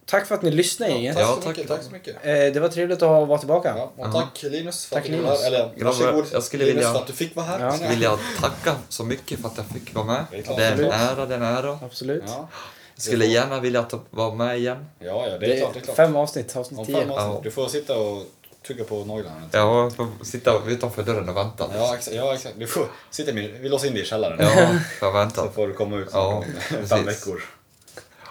Speaker 3: tack för att ni lyssnade gänget.
Speaker 2: tack,
Speaker 1: Ja,
Speaker 2: så
Speaker 1: tack.
Speaker 2: mycket, tack så mycket.
Speaker 3: Eh, det var trevligt att ha- vara tillbaka.
Speaker 2: Ja, och
Speaker 1: Ja.
Speaker 2: tack Linus för
Speaker 3: Tack,
Speaker 2: att du var
Speaker 3: Linus.
Speaker 2: här. Eller
Speaker 1: Grabbar,
Speaker 2: varsågod
Speaker 1: jag skulle
Speaker 2: Linus
Speaker 1: vilja-
Speaker 2: för att du fick vara här.
Speaker 3: Ja.
Speaker 1: Så vill jag tacka så mycket för att jag fick vara med.
Speaker 2: Det är klart.
Speaker 1: Det är en
Speaker 3: Absolut.
Speaker 1: ära, det är en ära.
Speaker 3: Absolut.
Speaker 2: Ja.
Speaker 1: Jag skulle gärna vilja ta, vara med igen.
Speaker 2: ja, ja, det
Speaker 3: Det
Speaker 2: är klart. Det är
Speaker 3: är
Speaker 2: klart.
Speaker 3: fem avsnitt,
Speaker 2: Om
Speaker 3: avsnitt
Speaker 2: fem
Speaker 3: tio.
Speaker 2: avsnitt.
Speaker 1: Ja.
Speaker 2: Du får sitta och tugga på naglarna.
Speaker 1: Ja, jag får sitta utanför dörren och vänta.
Speaker 2: Ja, exakt. Ja, exakt. Du får sitta med, vi låser in dig i källaren.
Speaker 1: Ja, jag
Speaker 2: Så
Speaker 1: väntar.
Speaker 2: får du komma ut
Speaker 1: Ja,
Speaker 2: om fem
Speaker 1: precis.
Speaker 2: veckor.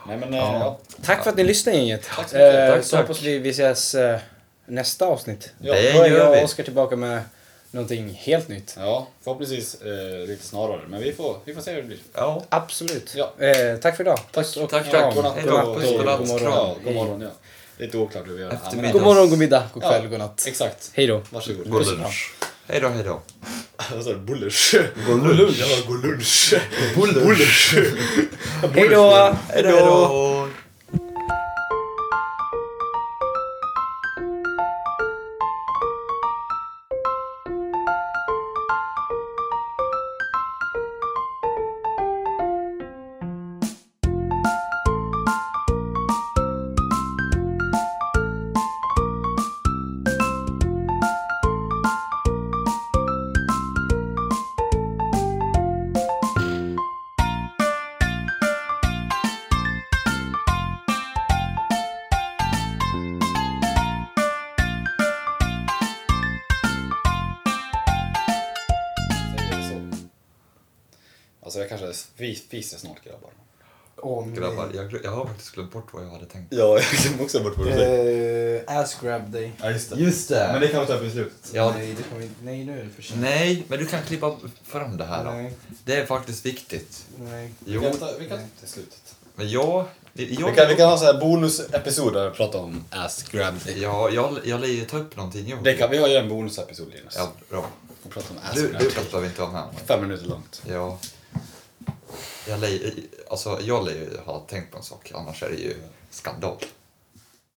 Speaker 2: Nej, men, eh, ja.
Speaker 3: Tack för att ni lyssnade gänget.
Speaker 2: Tack så mycket.
Speaker 3: Eh,
Speaker 1: Tack,
Speaker 3: så
Speaker 1: tack.
Speaker 3: hoppas vi, vi ses eh, nästa avsnitt.
Speaker 2: Ja,
Speaker 1: Det
Speaker 3: Då är jag
Speaker 1: gör
Speaker 3: och
Speaker 1: vi.
Speaker 3: Oskar tillbaka med någonting helt nytt.
Speaker 2: ja, förhoppningsvis eh, lite snarare. Men vi får, vi får se hur det blir.
Speaker 1: Ja.
Speaker 3: Absolut.
Speaker 2: Ja.
Speaker 3: Eh, tack för idag. Puss och
Speaker 1: Tack,
Speaker 3: kram.
Speaker 1: tack.
Speaker 2: Godnatt
Speaker 1: Hej
Speaker 2: och-
Speaker 1: då.
Speaker 2: och-
Speaker 1: Puss,
Speaker 2: och-
Speaker 1: godnatt, kram.
Speaker 2: Ja, god morgon. Ja. Lite oklart hur vi gör det. Ja, men-
Speaker 1: Eftermiddag.
Speaker 3: God morgon, god middag, god kväll,
Speaker 2: Ja.
Speaker 3: god natt.
Speaker 2: Exakt.
Speaker 3: Hej då.
Speaker 2: Varsågod.
Speaker 1: God lunch. Hej då, hej då.
Speaker 2: Vad sa du? Bullers? God lunch. Ja, god lunch. Bullers.
Speaker 3: Hej då!
Speaker 1: Hej då.
Speaker 2: Så. Alltså jag kanske fis- fiser snart grabbar.
Speaker 5: Åh
Speaker 1: Grabbar, jag, glö- jag har faktiskt glömt bort vad jag hade tänkt.
Speaker 2: Ja, jag glömde också bort vad du säger.
Speaker 5: nej. Eh, ass grab day.
Speaker 2: Ja, just det.
Speaker 1: Just det.
Speaker 2: Men det kan vi ta upp i slutet.
Speaker 1: Ja.
Speaker 5: Nej, det kommer inte. Nej, nu är det för sent.
Speaker 1: Nej, men du kan klippa fram det här då.
Speaker 5: Nej,
Speaker 1: Det är faktiskt viktigt.
Speaker 5: nej.
Speaker 2: Vi
Speaker 1: Jo,
Speaker 2: kan ta, vi kan ta upp det i slutet.
Speaker 1: men jag... jag
Speaker 2: Vi kan, vi kan ha så här bonusepisod där vi pratar om Ask Grab.
Speaker 1: Ja, jag, jag lär ju ta upp någonting. Jag.
Speaker 2: Det kan vi ha ju en bonusepisod Linus.
Speaker 1: Ja, bra.
Speaker 2: Vi pratar om Ask
Speaker 1: Du,
Speaker 2: Grab.
Speaker 1: du pratar vi inte om här.
Speaker 2: Fem minuter långt.
Speaker 1: Ja. Jag lär ju- alltså jag lär ju ha tänkt på en sak, annars är det ju skandal.